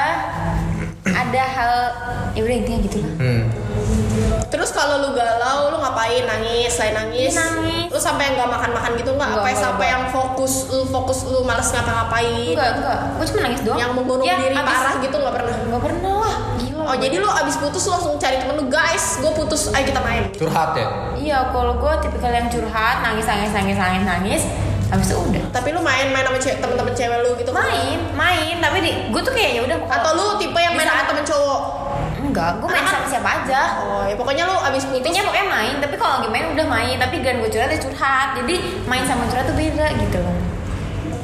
[SPEAKER 4] ada hal ya udah intinya gitulah
[SPEAKER 3] Hmm.
[SPEAKER 1] Terus kalau lu galau, lu ngapain? Nangis, selain nangis.
[SPEAKER 4] Iya, nangis.
[SPEAKER 1] Lu sampai nggak makan-makan gitu nggak?
[SPEAKER 4] Nggak,
[SPEAKER 1] Apa
[SPEAKER 4] nggak,
[SPEAKER 1] sampai
[SPEAKER 4] nggak.
[SPEAKER 1] yang fokus lu fokus lu males ngapa-ngapain?
[SPEAKER 4] enggak enggak gue cuma nangis doang
[SPEAKER 1] Yang membunuh
[SPEAKER 4] Ya,
[SPEAKER 1] diri
[SPEAKER 4] abis-
[SPEAKER 1] parah gitu nggak pernah.
[SPEAKER 4] nggak pernah lah gila
[SPEAKER 1] Oh jadi lu abis putus lu langsung cari temen lu guys, gue putus, ayo kita main.
[SPEAKER 3] Curhat ya.
[SPEAKER 4] iya kalau gue tipikal yang curhat nangis nangis nangis nangis nangis habis itu udah
[SPEAKER 1] Tapi lu main main sama cewek, temen-temen cewek lu gitu kan?
[SPEAKER 4] main main tapi di gue tuh kayak ya udah kalau-
[SPEAKER 1] Atau lu tipe yang
[SPEAKER 4] Di
[SPEAKER 1] main sama
[SPEAKER 4] saat-
[SPEAKER 1] temen cowok?
[SPEAKER 4] enggak gue main sama siapa aja
[SPEAKER 1] Oh ya pokoknya lu abis putus.
[SPEAKER 4] intinya pokoknya main tapi kalau lagi main udah main tapi gan gue curhat ya curhat jadi main sama curhat tuh beda gitu loh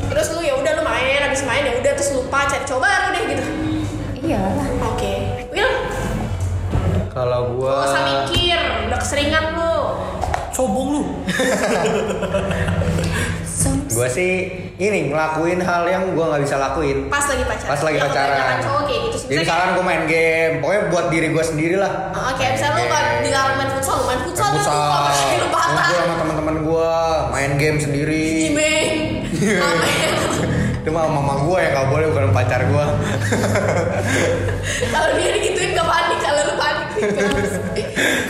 [SPEAKER 1] Terus lu ya udah lu main, abis main ya udah terus lupa cari cowok baru deh gitu.
[SPEAKER 4] iya lah
[SPEAKER 1] Oke. Will,
[SPEAKER 3] Kalau gua
[SPEAKER 1] gak usah mikir, udah keseringan lu.
[SPEAKER 2] Sobong lu.
[SPEAKER 3] gua sih ini ngelakuin hal yang gua nggak bisa lakuin
[SPEAKER 1] Pas lagi pacaran.
[SPEAKER 3] pas lagi
[SPEAKER 1] Ya, kebanyakan
[SPEAKER 3] pacaran.
[SPEAKER 1] cowok kayak gitu.
[SPEAKER 3] Jadi misalkan gua main game, pokoknya buat diri gua sendiri lah.
[SPEAKER 1] "Oh, Oke, misalnya lu
[SPEAKER 3] Main
[SPEAKER 1] kalau
[SPEAKER 3] game.
[SPEAKER 1] dilarang main futsal, lu main futsal,
[SPEAKER 3] Main
[SPEAKER 1] lu lupa pakai lu patah.
[SPEAKER 3] Gua sama teman-teman gua main game sendiri.
[SPEAKER 1] Gimeng. ya?
[SPEAKER 3] Itu mah mama gua yang nggak boleh bukan pacar gua.
[SPEAKER 1] Kalau dia digituin gak panik, kalau lu panik gitu.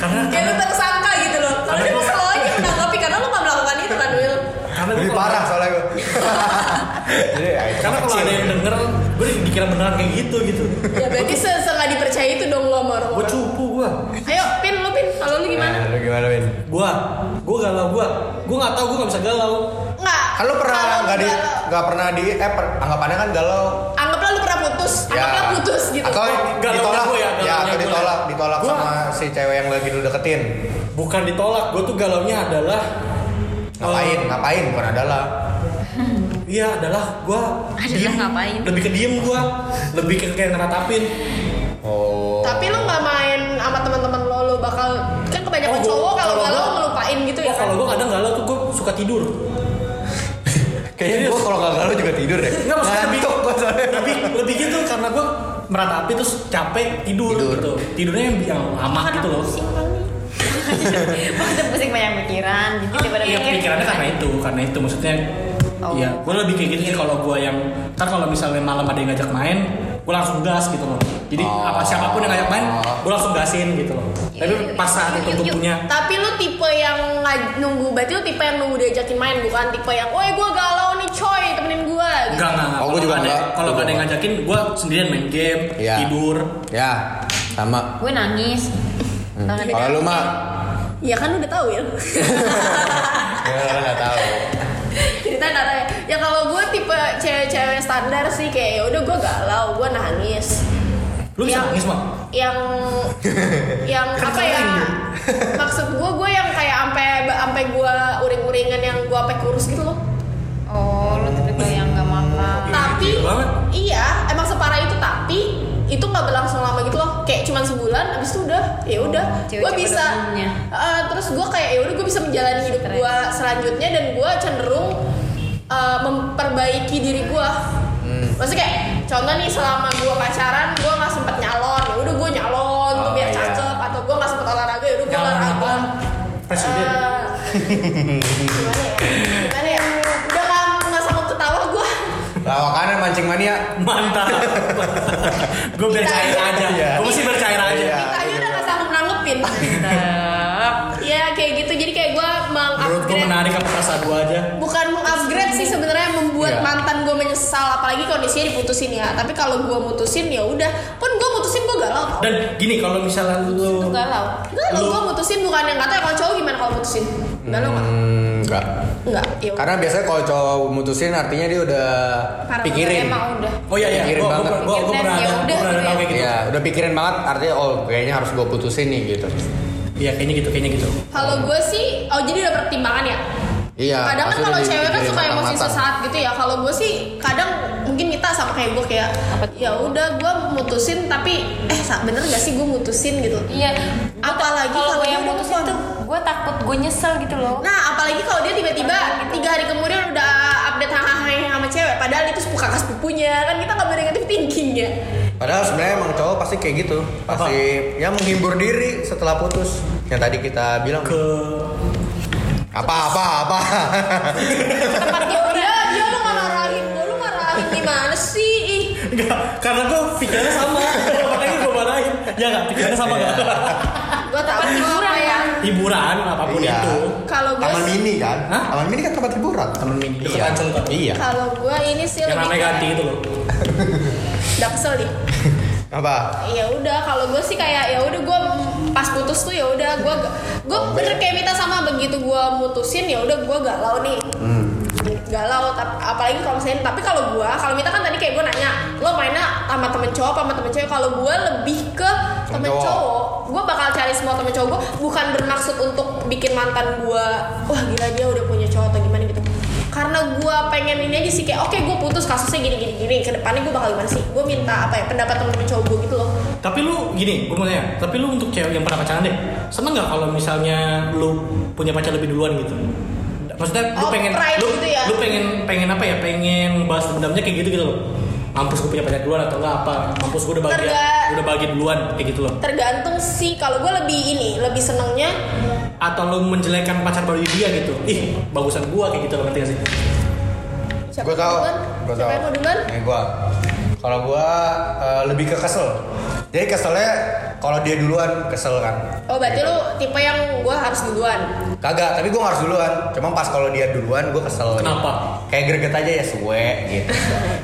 [SPEAKER 2] Karena-
[SPEAKER 1] Kayak lu tersangka gitu loh. Kalau dia
[SPEAKER 2] Karena-
[SPEAKER 1] masalahnya menanggapi karena lu gak melakukan itu kan, Will.
[SPEAKER 2] Karena gua
[SPEAKER 3] Lebih
[SPEAKER 2] kalau-
[SPEAKER 3] parah soalnya gua. Jadi ya itu
[SPEAKER 2] Karena
[SPEAKER 3] mah
[SPEAKER 2] kalau
[SPEAKER 3] kecil.
[SPEAKER 2] ada yang denger, gue dikira beneran kayak gitu gitu.
[SPEAKER 1] Ya berarti se se- nggak dipercaya itu dong lo sama
[SPEAKER 2] Gue
[SPEAKER 1] orang-orang.
[SPEAKER 2] cupu gue.
[SPEAKER 1] Ayo, Pin, lu Pin, kalau lu gimana?
[SPEAKER 3] Nah, lu gimana, Win?
[SPEAKER 2] Gue, gue galau gue. Gue nggak tahu gue nggak bisa galau.
[SPEAKER 1] Enggak.
[SPEAKER 3] Kan lu pernah
[SPEAKER 1] Kalau lu
[SPEAKER 3] nggak di
[SPEAKER 1] galau-
[SPEAKER 3] nggak pernah di eh per, anggapannya kan galau
[SPEAKER 1] Anggaplah lu pernah putus, anggaplah putus gitu.
[SPEAKER 3] Ya. Atau
[SPEAKER 2] Galaunya
[SPEAKER 3] ditolak
[SPEAKER 2] gua ya,
[SPEAKER 3] ya,
[SPEAKER 2] galaunya
[SPEAKER 3] atau
[SPEAKER 2] gua.
[SPEAKER 3] ditolak, ditolak
[SPEAKER 2] Gua-
[SPEAKER 3] sama si cewek yang lagi lu deketin.
[SPEAKER 2] Bukan ditolak, gue tuh galau nya adalah
[SPEAKER 3] Ngapain?
[SPEAKER 2] eh,
[SPEAKER 3] Ngapain? Bukan adalah.
[SPEAKER 2] Iya adalah gue
[SPEAKER 4] Adalah ngapain?
[SPEAKER 2] Lebih ke diem gue, lebih ke kayak ngeratapin.
[SPEAKER 3] Oh.
[SPEAKER 1] Tapi lu nggak main sama teman-teman lo, lu bakal kan
[SPEAKER 2] Oh,
[SPEAKER 1] kebanyakan
[SPEAKER 2] gua-
[SPEAKER 1] cowok kalau
[SPEAKER 2] kalau
[SPEAKER 1] galau
[SPEAKER 2] gua-
[SPEAKER 1] ngelupain gitu ya.
[SPEAKER 2] Oh, kalau gue kadang galau tuh gue suka tidur.
[SPEAKER 3] Kayaknya gua kalau nggak galau juga tidur deh.
[SPEAKER 2] Enggak maksudnya lebih,
[SPEAKER 3] Ngantuk gua soalnya.
[SPEAKER 2] lebih lebih gitu karena gue meratapi terus capek tidur,
[SPEAKER 3] Tidur.
[SPEAKER 2] gitu. Tidurnya yang, yang lama gitu loh.
[SPEAKER 4] Maksudnya pusing banyak pikiran jadi daripada
[SPEAKER 2] Iya
[SPEAKER 4] mikir
[SPEAKER 2] pikirannya karena itu, karena itu maksudnya.
[SPEAKER 4] Oh.
[SPEAKER 2] Iya, gue lebih kayak gitu sih kalau gue yang ntar kalau misalnya malam ada yang ngajak main, gue langsung gas gitu loh. Jadi
[SPEAKER 3] Oh.
[SPEAKER 2] apa siapapun yang ngajak main, gue langsung gasin gitu loh. Tapi
[SPEAKER 4] Yuk,
[SPEAKER 2] pas saat
[SPEAKER 4] Iya, yuk,
[SPEAKER 2] itu
[SPEAKER 4] yuk,
[SPEAKER 2] gue
[SPEAKER 4] yuk.
[SPEAKER 2] punya,
[SPEAKER 1] Tapi lu tipe yang ngaj- nunggu, berarti lu tipe yang nunggu diajakin main bukan tipe yang, woi gue galau nih coy temenin gue. Gitu.
[SPEAKER 2] enggak enggak. enggak.
[SPEAKER 3] Oh, gua
[SPEAKER 2] Kalau
[SPEAKER 3] juga
[SPEAKER 2] ada-
[SPEAKER 3] enggak.
[SPEAKER 2] Kalau
[SPEAKER 3] Gua
[SPEAKER 2] gak ada yang
[SPEAKER 3] juga.
[SPEAKER 2] ngajakin, gue sendirian main game,
[SPEAKER 3] Iya.
[SPEAKER 2] tidur.
[SPEAKER 3] Ya, sama.
[SPEAKER 4] gue nangis
[SPEAKER 3] Hmm.
[SPEAKER 4] Tangan
[SPEAKER 3] Kalau lu
[SPEAKER 4] dikit.
[SPEAKER 3] mah
[SPEAKER 1] Ya kan lu udah tahu ya.
[SPEAKER 3] ya lu nggak tahu.
[SPEAKER 1] cerita Nara ya kalau gue tipe cewek-cewek standar sih kayak "Ya udah gue galau gue nangis
[SPEAKER 2] Lu bisa
[SPEAKER 1] Iya.
[SPEAKER 2] nangis mah?
[SPEAKER 1] yang yang apa ya maksud gue gue yang kayak ampe ampe gue uring-uringan yang gue ampe kurus gitu loh
[SPEAKER 4] oh lu tipikal yang nggak makan
[SPEAKER 1] tapi
[SPEAKER 2] gila banget.
[SPEAKER 1] iya emang separah itu tapi itu nggak berlangsung lama gitu loh kayak cuman sebulan abis itu udah ya udah gue
[SPEAKER 4] Cewek-cewek
[SPEAKER 1] bisa
[SPEAKER 4] pada umumnya.
[SPEAKER 1] Eh, terus gue kayak ya udah gue bisa menjalani hidup
[SPEAKER 4] Keren.
[SPEAKER 1] gue selanjutnya dan gue cenderung eh, memperbaiki diri gue
[SPEAKER 2] Hmm.
[SPEAKER 1] maksudnya kayak contoh nih selama gue pacaran gue nggak sempet nyalon ya udah gue nyalon tuh
[SPEAKER 3] Oh,
[SPEAKER 1] biar
[SPEAKER 3] iya.
[SPEAKER 1] cakep atau gue nggak sempet olahraga ya udah gue
[SPEAKER 2] Nyalon
[SPEAKER 1] olahraga
[SPEAKER 2] apaan? Presiden.
[SPEAKER 1] Eh, gimana ya gimana ya udah nggak nggak sanggup ketawa gue
[SPEAKER 3] Lawakannya mancing mania.
[SPEAKER 2] Mantap. gue bercair aja.
[SPEAKER 3] Iya.
[SPEAKER 2] Gue mesti bercair aja.
[SPEAKER 3] Iya.
[SPEAKER 1] Kita aja udah gak sanggup nanggepin Ya kayak gitu Jadi kayak gue
[SPEAKER 2] Menurut gue
[SPEAKER 1] mengupgrade
[SPEAKER 2] menarik apa perasaan gue aja.
[SPEAKER 1] Bukan mengupgrade sih sebenarnya membuat
[SPEAKER 3] Iya.
[SPEAKER 1] mantan gue menyesal apalagi kondisinya diputusin ya. Tapi kalau gue mutusin ya udah. Pun gue mutusin gue galau. tau.
[SPEAKER 2] Dan gini kalau misalnya lu
[SPEAKER 4] itu galau
[SPEAKER 1] Galau
[SPEAKER 2] Lu-
[SPEAKER 1] gue mutusin bukan yang kata kalau cowok gimana kalau mutusin? Galau nggak?
[SPEAKER 3] Hmm, Kan- enggak.
[SPEAKER 1] Enggak. Ya udah.
[SPEAKER 3] Karena biasanya kalau cowok mutusin artinya dia udah
[SPEAKER 4] Parah
[SPEAKER 3] pikirin.
[SPEAKER 4] banget, emang udah
[SPEAKER 2] Oh iya iya,
[SPEAKER 3] Pikirin
[SPEAKER 2] gue
[SPEAKER 3] banget.
[SPEAKER 2] gue gue pernah
[SPEAKER 4] Ya
[SPEAKER 2] ada
[SPEAKER 4] udah,
[SPEAKER 2] gue pernah ada tau
[SPEAKER 4] gitu ya.
[SPEAKER 2] kayak gitu.
[SPEAKER 3] Iya, udah pikirin banget artinya oh kayaknya harus gue putusin nih gitu.
[SPEAKER 2] Iya kayaknya gitu kayaknya gitu.
[SPEAKER 1] Kalau gue sih, oh jadi udah pertimbangan ya.
[SPEAKER 3] Iya.
[SPEAKER 1] kadang kan
[SPEAKER 3] maksudnya
[SPEAKER 1] kalau
[SPEAKER 3] dia
[SPEAKER 1] cewek kan
[SPEAKER 3] pikirin
[SPEAKER 1] suka emosi
[SPEAKER 3] matang-matang.
[SPEAKER 1] sesaat gitu ya kalau gue sih kadang mungkin minta sama kayak gue kayak ya udah gue mutusin tapi eh sa- bener gak sih gue mutusin gitu
[SPEAKER 4] iya
[SPEAKER 1] Apalagi kalau
[SPEAKER 4] kalau gue yang
[SPEAKER 1] dia
[SPEAKER 4] putusin
[SPEAKER 1] nelfon.
[SPEAKER 4] tuh gue takut gue nyesel gitu loh
[SPEAKER 1] nah apalagi kalau dia tiba-tiba tiga hari kemudian udah update hahaha sama cewek padahal itu sepupu kakak sepupunya kan kita nggak boleh negatif thinking ya
[SPEAKER 3] Padahal sebenarnya emang cowok pasti kayak gitu, pasti ya menghibur diri setelah putus. Yang tadi kita bilang
[SPEAKER 2] Ke
[SPEAKER 3] apa apa apa.
[SPEAKER 1] tempat dia dia dia Iya, lu marahin gue lu marahin gimana sih Ih,
[SPEAKER 2] enggak karena gue pikirannya sama. Makanya ya nggak pikirannya sama
[SPEAKER 3] Iya.
[SPEAKER 2] nggak
[SPEAKER 1] Gue tau kok apa ya.
[SPEAKER 2] hiburan apapun
[SPEAKER 3] Iya.
[SPEAKER 2] itu
[SPEAKER 1] Kalau gue
[SPEAKER 3] Taman mini kan?
[SPEAKER 2] Hah?
[SPEAKER 3] Taman mini kan tempat hiburan.
[SPEAKER 2] Taman mini. Dekat
[SPEAKER 3] Iya.
[SPEAKER 2] Ancol kan?
[SPEAKER 3] Iya.
[SPEAKER 1] kalau gue ini sih
[SPEAKER 2] yang
[SPEAKER 1] lebih
[SPEAKER 2] rame ganti itu loh
[SPEAKER 1] udah kesel nih.
[SPEAKER 3] Apa?
[SPEAKER 1] ya udah kalau gue sih kayak ya udah gue pas putus tuh ya udah gue gue bener kayak minta sama begitu gue mutusin ya udah gue galau nih galau tap- apalagi kalau misalnya tapi kalau gue kalau minta kan tadi kayak gue nanya lo mainnya sama temen cowok apa sama temen cewek kalau gue lebih ke temen
[SPEAKER 3] cowok.
[SPEAKER 1] cowok gue bakal cari semua temen cowok gue bukan bermaksud untuk bikin mantan gue wah gila dia udah punya cowok atau gimana gitu karena gue pengen ini aja sih kayak oke gue putus kasusnya gini gini gini kedepannya gue bakal gimana sih gue minta apa ya pendapat temen-temen cowok gue gitu loh
[SPEAKER 2] tapi lu gini gue mau tanya tapi lu untuk cewek yang pernah pacaran deh seneng nggak kalau misalnya lu punya pacar lebih duluan gitu maksudnya lu
[SPEAKER 1] Oh,
[SPEAKER 2] pengen
[SPEAKER 1] pride
[SPEAKER 2] lu,
[SPEAKER 1] gitu ya?
[SPEAKER 2] lu pengen pengen apa ya pengen bahas dendamnya kayak gitu gitu loh mampus gue punya pacar duluan atau enggak apa mampus gue udah bahagia
[SPEAKER 1] Terga-
[SPEAKER 2] udah bahagia duluan kayak gitu loh
[SPEAKER 1] tergantung sih kalau gue lebih ini lebih senengnya
[SPEAKER 2] atau lu menjelekan pacar baru dia gitu ih bagusan gua kayak gitu loh ngerti gak sih
[SPEAKER 1] siapa
[SPEAKER 3] Gue tau.
[SPEAKER 1] duluan?
[SPEAKER 3] Gue
[SPEAKER 1] siapa
[SPEAKER 3] tau.
[SPEAKER 1] yang mau duluan
[SPEAKER 3] Ini gue. Kalau gue eh, lebih ke kesel. Jadi keselnya kalau dia duluan kesel kan.
[SPEAKER 1] oh berarti lu tipe yang gue harus duluan
[SPEAKER 3] Kagak, tapi gue harus duluan. kan. Cuma pas kalau dia duluan gue kesel.
[SPEAKER 2] Kenapa?
[SPEAKER 3] Kayak greget aja ya suwe gitu.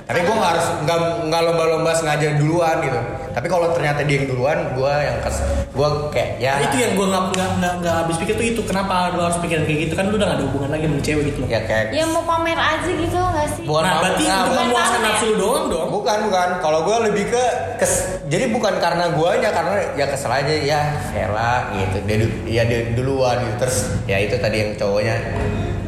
[SPEAKER 3] tapi gue nggak harus nggak nggak lomba-lomba sengaja duluan gitu. Tapi kalau ternyata dia yang duluan, gue yang kesel. Gue kayak ya.
[SPEAKER 2] Nah, itu yang gue nggak nggak nggak nggak habis pikir tuh itu kenapa lu harus pikiran kayak gitu kan lu udah gak ada hubungan lagi sama cewek gitu loh.
[SPEAKER 3] Ya kayak.
[SPEAKER 4] ya mau pamer aja gitu nggak sih
[SPEAKER 3] Buat-
[SPEAKER 2] nah
[SPEAKER 3] Bukan
[SPEAKER 2] berarti
[SPEAKER 3] mau-
[SPEAKER 2] untuk
[SPEAKER 3] bukan
[SPEAKER 2] memuaskan
[SPEAKER 4] mau.
[SPEAKER 2] nafsu lu doang dong.
[SPEAKER 3] Bukan bukan. Kalau gue lebih ke kes- jadi bukan karena guanya karena ya kesel aja ya Vela gitu. Dia du- ya dia duluan gitu. Terus ya itu tadi yang cowoknya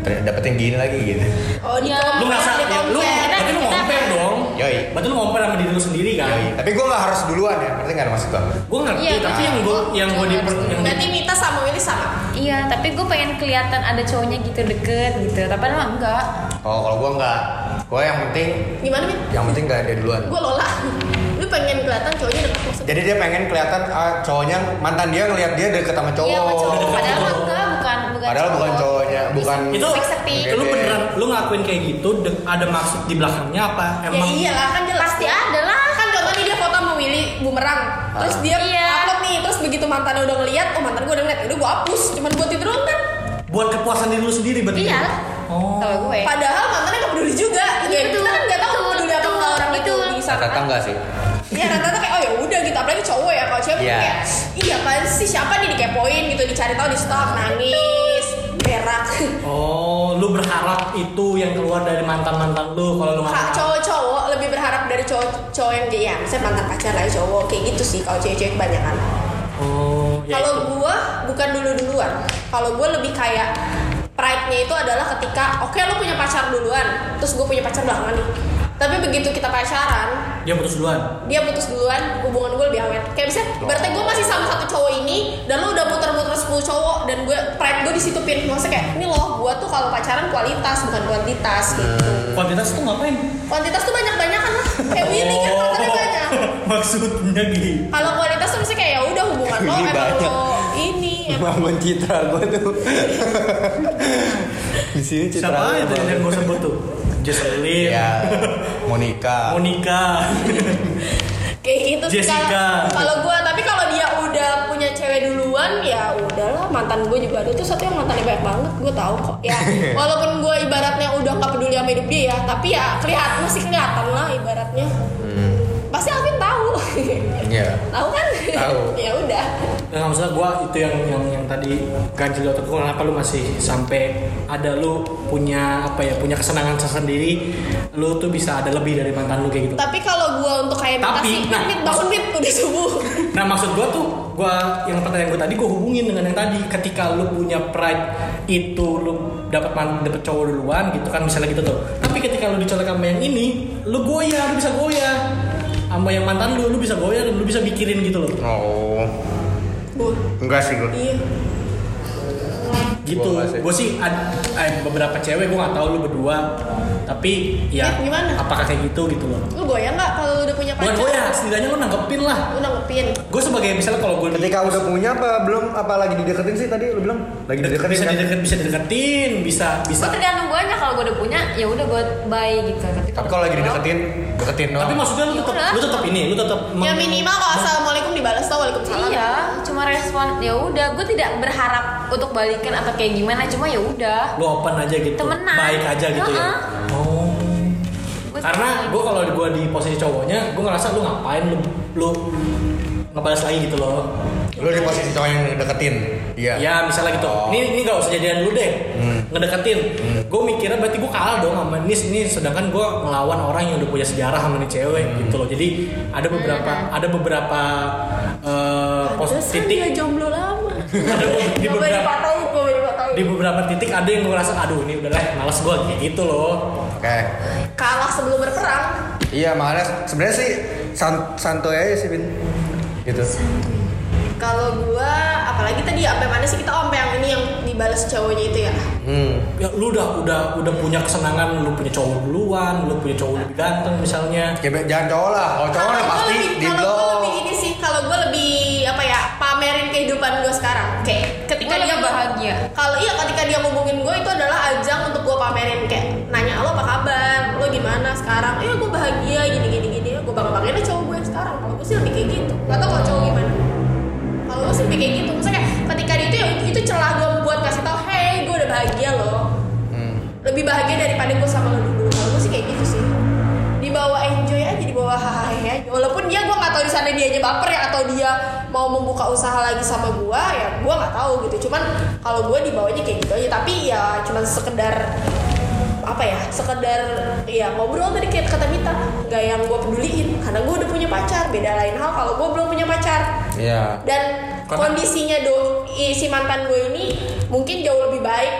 [SPEAKER 3] ter- dapetin gini lagi gitu.
[SPEAKER 1] oh di
[SPEAKER 4] Ya.
[SPEAKER 2] Lu
[SPEAKER 1] kompor,
[SPEAKER 2] ngerasa
[SPEAKER 1] di
[SPEAKER 2] ya, lu
[SPEAKER 1] kompor.
[SPEAKER 2] berarti lu ngompel dong.
[SPEAKER 3] Yoi.
[SPEAKER 2] Berarti lu ngompel sama diri lu sendiri kan.
[SPEAKER 3] Yoi. Tapi gue nggak harus duluan ya. Berarti nggak ada maksud gue.
[SPEAKER 2] Gue ngerti
[SPEAKER 4] Iya,
[SPEAKER 2] tapi
[SPEAKER 4] iya.
[SPEAKER 2] yang gue yang gue di yang di-
[SPEAKER 1] berarti Mita sama Willy sama
[SPEAKER 4] iya tapi gue pengen kelihatan ada cowoknya gitu deket gitu tapi emang enggak
[SPEAKER 3] Oh kalau gue nggak. Gue yang penting
[SPEAKER 1] gimana Mit?
[SPEAKER 3] yang penting gak ada duluan.
[SPEAKER 1] gue lola lu pengen kelihatan cowoknya deket maksudnya
[SPEAKER 3] Jadi dia pengen kelihatan ah, cowoknya mantan dia ngelihat dia deket sama
[SPEAKER 4] iya sama
[SPEAKER 3] cowok.
[SPEAKER 4] cowok padahal mah enggak bukan bukan
[SPEAKER 3] Padahal bukan cowoknya, bukan
[SPEAKER 2] itu
[SPEAKER 4] Seksi.
[SPEAKER 2] lu beneran lu ngakuin kayak gitu de- ada maksud di belakangnya apa
[SPEAKER 1] ya
[SPEAKER 2] emang
[SPEAKER 1] iyalah kan jelas
[SPEAKER 4] pasti ada lah
[SPEAKER 1] kan contohnya dia foto sama Willy bumerang terus dia
[SPEAKER 4] Iya.
[SPEAKER 1] upload nih terus begitu mantannya udah ngeliat oh mantan gue udah ngeliat udah gue hapus cuman buat itu doang kan
[SPEAKER 2] buat kepuasan diri lu sendiri berarti
[SPEAKER 4] iya
[SPEAKER 2] oh
[SPEAKER 4] kalau gue
[SPEAKER 1] Padahal mantannya gak peduli juga. Ya,
[SPEAKER 4] betul,
[SPEAKER 1] kita kan gak tahu
[SPEAKER 4] iya. betul,
[SPEAKER 1] peduli apa
[SPEAKER 4] betul,
[SPEAKER 1] sama orang itu.
[SPEAKER 4] betul.
[SPEAKER 1] Bisa
[SPEAKER 3] Rata-rata enggak sih?
[SPEAKER 1] Ya rata-rata kayak oh ya udah gitu. Apalagi cowok ya kalau cewek
[SPEAKER 3] Iya.
[SPEAKER 1] kayak iya kan sih siapa nih dikepoin gitu dicari tahu di stok nangis berak.
[SPEAKER 2] oh lu berharap itu yang keluar dari mantan mantan lu kalau lu
[SPEAKER 1] Kak,
[SPEAKER 2] nggak
[SPEAKER 1] cowok-cowok lebih berharap dari cowok-cowok yang dia ya, misalnya mantan pacar lah ya, cowok kayak gitu sih kalau cewek-cewek kebanyakan.
[SPEAKER 2] oh ya
[SPEAKER 1] Kalau
[SPEAKER 2] itu.
[SPEAKER 1] gua bukan dulu-duluan. Kalau gua lebih kayak pride-nya itu adalah ketika oke lu punya pacar duluan, terus gua punya pacar belakangan nih. Tapi begitu kita pacaran,
[SPEAKER 2] dia putus duluan
[SPEAKER 1] dia putus duluan hubungan gue lebih awet kayak misalnya berarti gue masih sama satu cowok ini dan lo udah muter-muter 10 cowok dan gue pride gue di situ pin maksudnya kayak ini loh gue tuh kalau pacaran kualitas bukan kuantitas gitu
[SPEAKER 2] kuantitas tuh ngapain Oh.
[SPEAKER 1] kuantitas tuh banyak banyak kan lah kayak Willy kan mantannya banyak
[SPEAKER 2] maksudnya gitu. gini
[SPEAKER 1] kalau kualitas tuh misalnya kayak ya udah hubungan lo
[SPEAKER 3] Willy
[SPEAKER 1] emang
[SPEAKER 3] banyak.
[SPEAKER 1] lo ini
[SPEAKER 4] Iya.
[SPEAKER 1] emang
[SPEAKER 3] Bangun citra gue tuh. Di sini citra.
[SPEAKER 2] siapa
[SPEAKER 3] gua
[SPEAKER 2] itu
[SPEAKER 3] bangun.
[SPEAKER 2] yang gue sebut tuh Jocelyn
[SPEAKER 3] Ya, Monica.
[SPEAKER 2] Monica
[SPEAKER 1] kayak gitu sih
[SPEAKER 2] Jessica.
[SPEAKER 1] kalau- kalau gue tapi kalau dia udah punya cewek duluan ya udahlah mantan gue juga ada tuh satu yang mantannya banyak banget gue tahu kok ya walaupun gue ibaratnya udah nggak peduli sama hidup dia ya tapi ya kelihatan masih kelihatan lah ibaratnya pasti Alvin tahu
[SPEAKER 3] Hmm, Iya.
[SPEAKER 1] tahu kan
[SPEAKER 3] Tahu.
[SPEAKER 1] ya udah
[SPEAKER 2] Nah, maksudnya gue itu yang yang yang tadi ganjil di otak gue kenapa lu masih sampai ada lu punya apa ya punya kesenangan tersendiri lu tuh bisa ada lebih dari mantan lu kayak gitu
[SPEAKER 1] tapi kalau gue untuk kayak minta
[SPEAKER 2] Tapi,
[SPEAKER 1] sih
[SPEAKER 2] nah.
[SPEAKER 1] nah, bangun mit udah subuh
[SPEAKER 2] nah maksud gue tuh gue yang pertanyaan gue tadi gue hubungin dengan yang tadi ketika lu punya pride itu lu dapat man- dapat cowok duluan gitu kan misalnya gitu tuh tapi ketika lu dicolek sama yang ini lu goyah lu bisa goyah sama yang mantan lu lu bisa goyah dan lu bisa mikirin gitu loh
[SPEAKER 3] Oh,
[SPEAKER 1] Bu,
[SPEAKER 3] enggak sih gue.
[SPEAKER 1] iya
[SPEAKER 2] gitu
[SPEAKER 3] Gua nggak sih.
[SPEAKER 2] gue sih ad- eh, beberapa cewek gue nggak tahu lu berdua tapi ya
[SPEAKER 1] Eh, gimana?
[SPEAKER 2] apakah kayak gitu gitu loh
[SPEAKER 1] lu goyang nggak kalau lu udah punya
[SPEAKER 2] bukan
[SPEAKER 1] pacar
[SPEAKER 2] gue ya setidaknya lu nanggepin lah
[SPEAKER 1] lu nanggepin
[SPEAKER 2] gue sebagai misalnya kalau gue
[SPEAKER 3] Ketika udah punya apa belum apa lagi dideketin sih tadi lu bilang? Lagi dideketin.
[SPEAKER 2] bisa
[SPEAKER 3] kan?
[SPEAKER 2] dideket bisa dideketin bisa bisa
[SPEAKER 4] gue tergantung gue aja kalau gue udah punya ya udah gue bye gitu
[SPEAKER 3] Tapi kalau lagi dideketin, deketin doang.
[SPEAKER 2] tapi maksudnya lu
[SPEAKER 4] Ya
[SPEAKER 2] tetap
[SPEAKER 4] udah.
[SPEAKER 2] lu tetap ini lu tetap
[SPEAKER 1] ya
[SPEAKER 2] meng-
[SPEAKER 1] minimal kalau assalamualaikum dibalas tau waalaikumsalam.
[SPEAKER 4] iya cuma respon ya udah gue tidak berharap untuk balikan atau kayak gimana cuma ya udah
[SPEAKER 2] lu open aja gitu
[SPEAKER 4] Temenan.
[SPEAKER 2] baik aja gitu ya oh
[SPEAKER 4] Gua
[SPEAKER 2] karena
[SPEAKER 4] temenan.
[SPEAKER 2] gue kalau gue di posisi cowoknya gue ngerasa lu ngapain lu lu ngebalas lagi gitu loh
[SPEAKER 3] Lu di posisi cowok yang deketin. Iya.
[SPEAKER 2] ya misalnya gitu
[SPEAKER 3] Oh.
[SPEAKER 2] ini ini gak usah jadian dulu deh ngedeketin gue mikirnya berarti gue kalah dong sama ini ini sedangkan gue ngelawan orang yang udah punya sejarah sama ini cewek gitu loh jadi ada beberapa ada beberapa eh, pos
[SPEAKER 1] Pantesan kan dia
[SPEAKER 2] titik
[SPEAKER 1] jomblo lama.
[SPEAKER 2] ada be- di
[SPEAKER 1] Coba
[SPEAKER 2] beberapa
[SPEAKER 1] dipatahin, coba
[SPEAKER 2] di
[SPEAKER 1] dipatahin.
[SPEAKER 2] beberapa titik ada yang gue ngerasa aduh ini udah lah malas gue kayak gitu loh
[SPEAKER 3] Oke.
[SPEAKER 1] Kalah sebelum berperang.
[SPEAKER 3] Iya makanya sebenarnya sih san santuy aja sih Bin. Gitu.
[SPEAKER 1] Kalau gua apalagi tadi sampai mana sih kita oh, sampai yang ini yang dibalas cowoknya itu ya.
[SPEAKER 3] Hmm.
[SPEAKER 2] ya lu udah udah udah punya kesenangan lu punya cowok duluan lu punya cowok lebih ganteng misalnya
[SPEAKER 3] Ya, be- jangan cowok lah. Kalau cowok
[SPEAKER 1] Kalau
[SPEAKER 3] udah
[SPEAKER 1] gua
[SPEAKER 3] pasti
[SPEAKER 1] lebih-
[SPEAKER 3] di
[SPEAKER 1] Kalau gue
[SPEAKER 3] blok.
[SPEAKER 1] lebih ini sih, kalau gue lebih apa ya pamerin kehidupan gue sekarang. Kayak ketika
[SPEAKER 4] Gua
[SPEAKER 1] dia
[SPEAKER 4] lebih bahagia.
[SPEAKER 1] Kalau iya ketika dia ngomongin gue itu adalah ajang untuk gue pamerin kayak nanya lo apa kabar, lo gimana sekarang? Iya gue bahagia gini gini gini. Iya, Gue bakal banggain cowok gue yang sekarang. Kalau gue sih lebih kayak gitu. Gak tau kalau cowok gimana. Kalau gue sih lebih kayak gitu. Maksudnya kayak ketika dia itu ya itu celah gue buat kasih tau, hey gue udah bahagia loh.
[SPEAKER 3] Hmm.
[SPEAKER 1] Lebih bahagia daripada gue sama lo dulu. Kalau gue sih kayak gitu sih di bawah enjoy aja di bawah hahaha aja walaupun dia gue nggak tahu di sana dia aja baper ya atau dia mau membuka usaha lagi sama gue ya gue nggak tahu gitu cuman kalau gue di bawahnya kayak gitu aja tapi ya cuman sekedar apa ya sekedar ya ngobrol tadi kayak kata Mita nggak yang gue peduliin karena gue udah punya pacar beda lain hal kalau gue belum punya pacar
[SPEAKER 3] Iya.
[SPEAKER 1] dan
[SPEAKER 2] Karena-
[SPEAKER 1] kondisinya do i- si mantan gue ini mungkin jauh lebih baik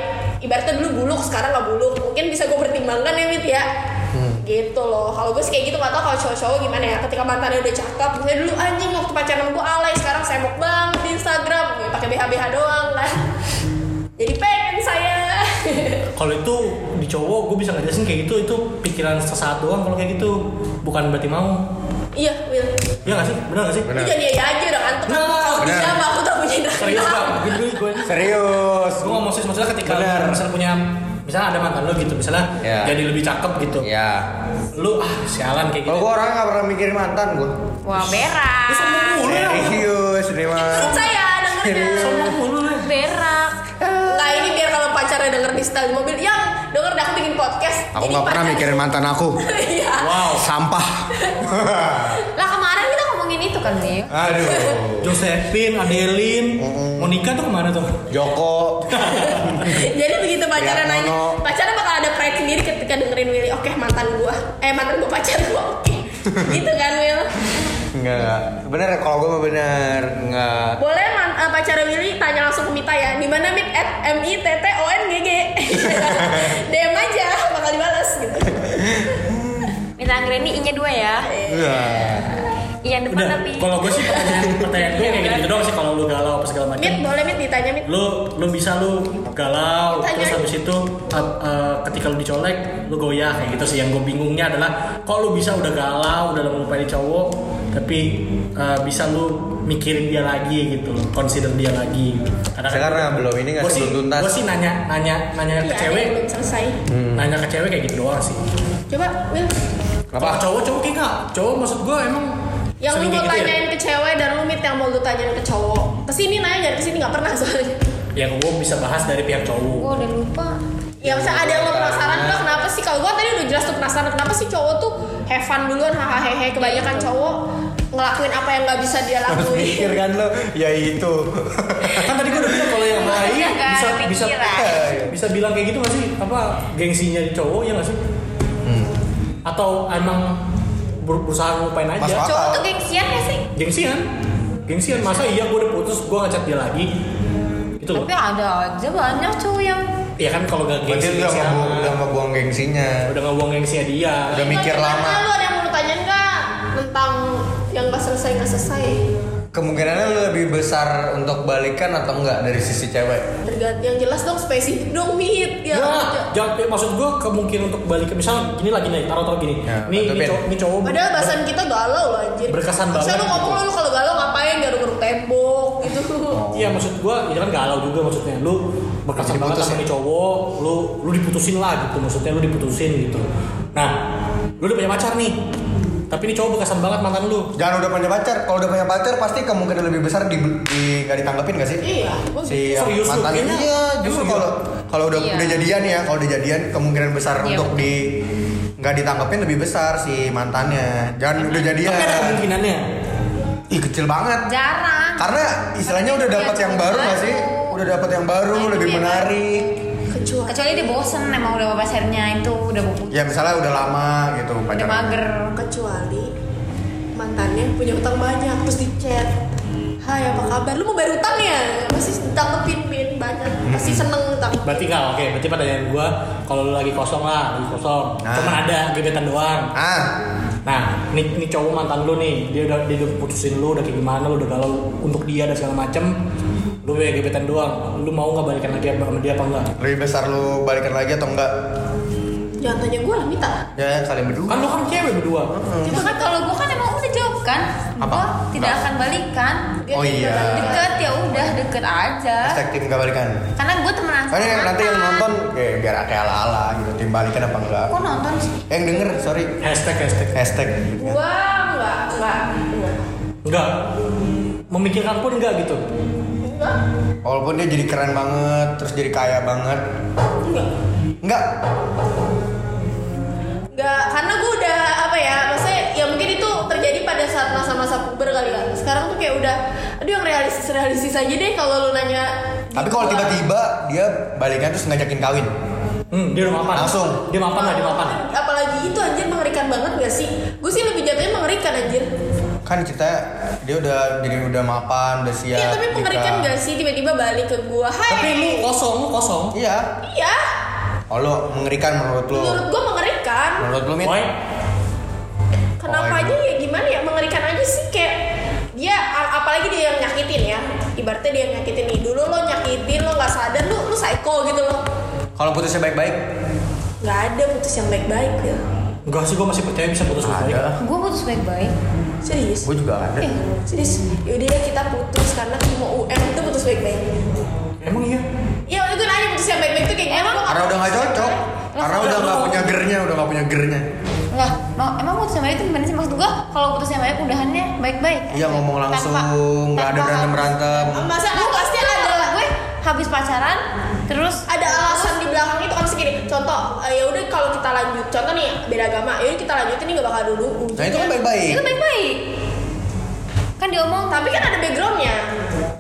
[SPEAKER 1] ibaratnya dulu buluk sekarang nggak buluk mungkin bisa gue pertimbangkan ya Mit ya
[SPEAKER 2] Hmm.
[SPEAKER 1] gitu loh kalau gue sih kayak gitu nggak tau kalau cowok-cowok gimana ya ketika mantannya udah cakep misalnya dulu anjing waktu pacaran sama gue alay sekarang semok banget di Instagram ya, pakai BH BH doang kan jadi pengen saya
[SPEAKER 2] kalau itu di cowok gue bisa ngejelasin kayak gitu itu pikiran sesaat doang kalau kayak gitu bukan berarti mau
[SPEAKER 1] iya Will
[SPEAKER 2] Iya gak sih? Bener gak sih?
[SPEAKER 1] lu
[SPEAKER 3] Benar.
[SPEAKER 1] jadi aja aja udah ngantuk
[SPEAKER 2] Nah,
[SPEAKER 1] kalau
[SPEAKER 3] benar.
[SPEAKER 1] dijam aku tak punya
[SPEAKER 2] Serius
[SPEAKER 1] indra
[SPEAKER 2] bang, gue dulu gue
[SPEAKER 3] Serius.
[SPEAKER 2] Gue ngomong serius, maksudnya ketika
[SPEAKER 3] Benar.
[SPEAKER 2] lu misalnya punya Misalnya ada mantan lu gitu, misalnya
[SPEAKER 3] Iya.
[SPEAKER 2] jadi lebih cakep gitu
[SPEAKER 3] Iya.
[SPEAKER 2] Lu ah sialan kayak gitu
[SPEAKER 3] Kalau gua orang nggak pernah mikirin mantan gua.
[SPEAKER 4] wah berak
[SPEAKER 2] Mulu
[SPEAKER 3] Iya.
[SPEAKER 2] ya.
[SPEAKER 3] Serius, ini
[SPEAKER 1] Ikut
[SPEAKER 3] mah.
[SPEAKER 1] saya dengerin
[SPEAKER 2] Sombong mulu lu.
[SPEAKER 4] berak
[SPEAKER 1] Nah ini biar kalau pacarnya denger di setel di mobil Yang denger dah aku bikin podcast
[SPEAKER 3] Aku nggak pernah mikirin mantan aku.
[SPEAKER 1] Iya
[SPEAKER 2] Wow
[SPEAKER 3] Sampah.
[SPEAKER 4] lah kemarin kita ngomongin itu kan nih
[SPEAKER 3] Aduh.
[SPEAKER 2] Josephine, Adeline,
[SPEAKER 3] Mm-mm.
[SPEAKER 2] Monica tuh kemana tuh?
[SPEAKER 3] Joko.
[SPEAKER 1] Jadi begitu pacarnya
[SPEAKER 3] Ya,
[SPEAKER 1] nanya
[SPEAKER 3] Nono.
[SPEAKER 1] Pacarnya bakal ada pride sendiri ketika dengerin Willy Oke mantan gua Eh mantan gua pacar gua oke Gitu kan Will
[SPEAKER 3] Enggak, enggak. Bener ya, kalau gua mah bener enggak.
[SPEAKER 1] Boleh man, eh, pacarnya Willy tanya langsung ke Mita ya Dimana Mit? At m i t t o n g g DM aja bakal dibalas gitu
[SPEAKER 4] minta anggreni inya dua ya
[SPEAKER 3] Iya.
[SPEAKER 4] I yang depan
[SPEAKER 2] Udah,
[SPEAKER 4] tapi
[SPEAKER 2] kalau gue sih pertanyaan pertanyaan gue kayak gitu doang sih kalau lu galau apa segala macam.
[SPEAKER 1] Mit boleh Mit ditanya Mit
[SPEAKER 2] Lu lu bisa lu galau
[SPEAKER 1] Tanya.
[SPEAKER 2] terus habis itu eh, eh, ketika lu dicolek lu goyah kayak gitu sih yang gue bingungnya adalah kok lu bisa udah galau udah ngelupain cowok tapi eh, bisa lu mikirin dia lagi gitu loh, consider dia lagi.
[SPEAKER 3] Saya karena belum ini nggak
[SPEAKER 2] gue sih
[SPEAKER 3] sih belum tuntas. Hmm.
[SPEAKER 2] gue sih nanya nanya nanya ke
[SPEAKER 1] Iya,
[SPEAKER 2] cewek,
[SPEAKER 1] belum selesai
[SPEAKER 2] nanya ke cewek kayak gitu doang sih.
[SPEAKER 1] Coba Will
[SPEAKER 2] Kalau
[SPEAKER 3] Apa?
[SPEAKER 2] cowok cowok kayak nggak, cowok maksud gue emang
[SPEAKER 1] Yang lu
[SPEAKER 2] sering
[SPEAKER 1] mau
[SPEAKER 2] kayak gitu ya?
[SPEAKER 1] tanyain ke cewek dan lu mit yang mau lu tanyain ke cowok. Kesini nanya jangan kesini nggak pernah soalnya.
[SPEAKER 2] yang gue bisa bahas dari pihak cowok
[SPEAKER 4] gue udah lupa
[SPEAKER 1] Ya misalnya ada yang lo penasaran tuh kenapa sih? Kalau gua tadi udah jelas tuh penasaran kenapa sih cowok tuh have fun duluan hahaha
[SPEAKER 2] Iya,
[SPEAKER 1] kebanyakan cowok ngelakuin apa yang nggak bisa dia
[SPEAKER 3] Harus
[SPEAKER 1] lakuin.
[SPEAKER 3] mikir kan lo. Ya itu.
[SPEAKER 2] kan tadi gue udah bilang kalau yang baik
[SPEAKER 4] Iya, nggak
[SPEAKER 2] bisa
[SPEAKER 4] ada
[SPEAKER 2] bisa
[SPEAKER 4] pikiran.
[SPEAKER 2] bisa bilang kayak gitu gak sih apa gengsinya cowok ya gak sih
[SPEAKER 3] Hmm.
[SPEAKER 2] atau emang ber- berusaha ngelupain
[SPEAKER 3] Mas
[SPEAKER 2] aja
[SPEAKER 3] Wak.
[SPEAKER 4] cowok tuh gengsian ya sih
[SPEAKER 2] gengsian gengsian masa iya gue udah putus gue ngechat dia lagi gitu loh
[SPEAKER 4] tapi ada aja banyak cowok yang
[SPEAKER 2] ya kan kalau gak gengsi
[SPEAKER 3] Berarti udah
[SPEAKER 2] gengsi
[SPEAKER 3] ngebu
[SPEAKER 2] amat.
[SPEAKER 3] udah ngebuang gengsinya.
[SPEAKER 2] udah ngebuang gengsinya dia
[SPEAKER 3] Udah mikir
[SPEAKER 1] Coba tanya,
[SPEAKER 3] lama.
[SPEAKER 1] Lu ada yang mau lu tanyain nggak tentang yang nggak selesai nggak selesai?
[SPEAKER 3] Kemungkinannya lo lebih besar untuk balikan atau enggak dari sisi cewek?
[SPEAKER 1] Tergantung yang jelas dong spesifik dong mit ya.
[SPEAKER 4] Iya,
[SPEAKER 2] Nah, jangan ya, maksud gue kemungkinan untuk balik ke misal gini lagi nih taruh taruh gini.
[SPEAKER 3] Ya,
[SPEAKER 2] nih ini
[SPEAKER 3] tutupin.
[SPEAKER 2] cowok, ini cowok
[SPEAKER 1] Padahal bahasan kita galau loh anjir.
[SPEAKER 2] Berkesan
[SPEAKER 1] Harusnya
[SPEAKER 2] banget
[SPEAKER 1] lu ngomong
[SPEAKER 2] gitu.
[SPEAKER 1] lu kalau galau ngapain? Gak ngeruk tembok gitu.
[SPEAKER 2] Iya maksud gua, ya kan galau juga maksudnya Lu berkesan
[SPEAKER 3] Jadi
[SPEAKER 2] banget
[SPEAKER 3] putus
[SPEAKER 2] sama
[SPEAKER 3] ya?
[SPEAKER 2] nih cowok lu, lu diputusin lah gitu Maksudnya lu diputusin gitu Nah, lu udah punya pacar nih Tapi ini cowok bekasan banget mantan lu.
[SPEAKER 3] Jangan udah punya pacar. Kalau udah punya pacar pasti kemungkinan lebih besar di, di gak ditanggepin gak sih?
[SPEAKER 1] Iya, gua
[SPEAKER 3] Si yang
[SPEAKER 2] Oh, Serius lu?
[SPEAKER 3] mantan
[SPEAKER 2] Kayaknya-
[SPEAKER 3] iya justru
[SPEAKER 2] Emang iya?
[SPEAKER 3] kalau kalau udah
[SPEAKER 4] Iya.
[SPEAKER 3] udah jadian ya, kalau udah jadian kemungkinan besar
[SPEAKER 4] Iya,
[SPEAKER 3] untuk di nggak ditanggepin lebih besar si mantannya. Jangan udah jadian.
[SPEAKER 2] Tapi ada kemungkinannya.
[SPEAKER 3] Ih kecil banget.
[SPEAKER 4] jarang
[SPEAKER 3] Karena istilahnya udah dapat yang baru gak sih? Udah dapat yang baru,
[SPEAKER 4] Iya, Nah, itu
[SPEAKER 3] lebih
[SPEAKER 4] dia, kan?
[SPEAKER 3] menarik.
[SPEAKER 1] kecuali
[SPEAKER 4] kecuali dia bosen emang udah sama pacarnya itu udah mau putus
[SPEAKER 3] Ya misalnya udah lama gitu
[SPEAKER 4] udah
[SPEAKER 3] pacaran.
[SPEAKER 4] mager
[SPEAKER 1] kecuali mantannya punya utang banyak terus di chat Hai apa kabar? Lu mau bayar utang ya? Masih tanggepin min banyak, masih seneng tanggepin.
[SPEAKER 2] Berarti nggak oke. Berarti pada yang gua kalau lu lagi kosong lah, lagi kosong.
[SPEAKER 3] Nah.
[SPEAKER 2] Cuman ada gebetan doang.
[SPEAKER 3] Ah,
[SPEAKER 2] Nah, ini, ini cowok mantan lu nih, dia udah dia udah putusin lu, udah kayak gimana, lu udah galau untuk dia dan segala macem. Lu kayak gebetan doang, lu mau nggak balikan lagi sama dia apa enggak?
[SPEAKER 3] lebih besar lu balikan lagi atau enggak?
[SPEAKER 1] Jangan tanya gue lah, minta.
[SPEAKER 3] Ya kalian berdua.
[SPEAKER 2] Kan lu kan cewek berdua.
[SPEAKER 4] cuma kan kalau gua kan emang udah jawab kan
[SPEAKER 3] Apa?
[SPEAKER 4] Gua tidak
[SPEAKER 3] Apa?
[SPEAKER 4] akan balikan
[SPEAKER 1] Dia
[SPEAKER 3] Oh, iya.
[SPEAKER 1] tinggal-
[SPEAKER 4] deket ya udah deket aja
[SPEAKER 3] Hashtag tim gak balikan.
[SPEAKER 4] karena gua temenan
[SPEAKER 3] Oh, ini
[SPEAKER 4] sama
[SPEAKER 3] nanti yang
[SPEAKER 4] mantan.
[SPEAKER 3] nonton kayak biar kayak ala-ala gitu tim balikan apa enggak?
[SPEAKER 4] kok nonton sih
[SPEAKER 3] Eh, Yang denger sorry
[SPEAKER 2] Hashtag hashtag.
[SPEAKER 3] hashtag.
[SPEAKER 1] Gua nggak nggak nggak.
[SPEAKER 2] Enggak. Memikirkan pun enggak gitu.
[SPEAKER 1] Enggak,
[SPEAKER 3] Walaupun dia jadi keren banget, terus jadi kaya banget.
[SPEAKER 1] enggak.
[SPEAKER 3] Enggak.
[SPEAKER 1] Enggak, karena gue udah apa ya, maksudnya ya mungkin itu terjadi pada saat masa-masa puber kali kan. Sekarang tuh kayak udah, aduh yang realistis realistis aja deh kalau lu nanya.
[SPEAKER 3] Tapi kalau tiba-tiba dia balikan terus ngajakin kawin.
[SPEAKER 2] Hmm, dia udah mapan.
[SPEAKER 3] Langsung.
[SPEAKER 2] Dia mapan lah, dia mapan.
[SPEAKER 1] Apalagi itu anjir mengerikan banget gak sih? Gue sih lebih jatuhnya mengerikan anjir.
[SPEAKER 3] Kan cerita dia udah jadi udah mapan, udah siap.
[SPEAKER 1] Iya tapi mengerikan
[SPEAKER 3] nikah.
[SPEAKER 1] gak sih tiba-tiba balik ke gua
[SPEAKER 2] Tapi
[SPEAKER 1] Hai
[SPEAKER 2] lu kosong, lu kosong.
[SPEAKER 3] Iya.
[SPEAKER 1] Iya
[SPEAKER 3] Oh, lu mengerikan menurut lu.
[SPEAKER 1] Menurut gua mengerikan
[SPEAKER 3] Menurut lu, Mit?
[SPEAKER 2] Boy,
[SPEAKER 1] Kenapa
[SPEAKER 3] Oh,
[SPEAKER 1] aja ya gimana ya Mengerikan aja sih kayak Dia a- apalagi dia yang nyakitin ya Ibaratnya dia yang nyakitin nih Dulu lo nyakitin lo gak sadar Lu, lu psycho gitu loh
[SPEAKER 3] Kalau putusnya baik-baik,
[SPEAKER 1] Gak ada putus yang baik-baik ya
[SPEAKER 2] enggak sih gua masih percaya bisa putus baik.
[SPEAKER 3] ada.
[SPEAKER 4] gua putus baik-baik
[SPEAKER 1] Serius
[SPEAKER 3] Gue juga ada.
[SPEAKER 4] eh
[SPEAKER 1] Serius Yaudah ya kita putus Karena aku mau UM Itu putus baik-baik
[SPEAKER 2] Emang iya.
[SPEAKER 1] Iya waktu itu nanya putus yang baik-baik itu kayak gimana Gua
[SPEAKER 3] Karena udah nggak cocok. Karena udah nggak punya gernya, udah nggak punya gernya.
[SPEAKER 4] Enggak, mau emang putus yang baik itu gimana sih maksud gua? Kalau putus yang baik udahannya baik-baik.
[SPEAKER 3] Iya ngomong
[SPEAKER 4] Tanpa-
[SPEAKER 3] langsung, nggak ada
[SPEAKER 4] tanpa
[SPEAKER 3] berantem berantem.
[SPEAKER 1] nggak- Masa lu pasti ada lah
[SPEAKER 4] Gue habis pacaran terus
[SPEAKER 1] ada alasan di belakang itu kan segini contoh eh, ya udah kalau kita lanjut contoh nih beda agama ya udah kita lanjutin ini gak bakal dulu
[SPEAKER 3] Nah itu kan baik-baik.
[SPEAKER 4] Itu baik-baik. Kan diomong
[SPEAKER 1] tapi kan ada backgroundnya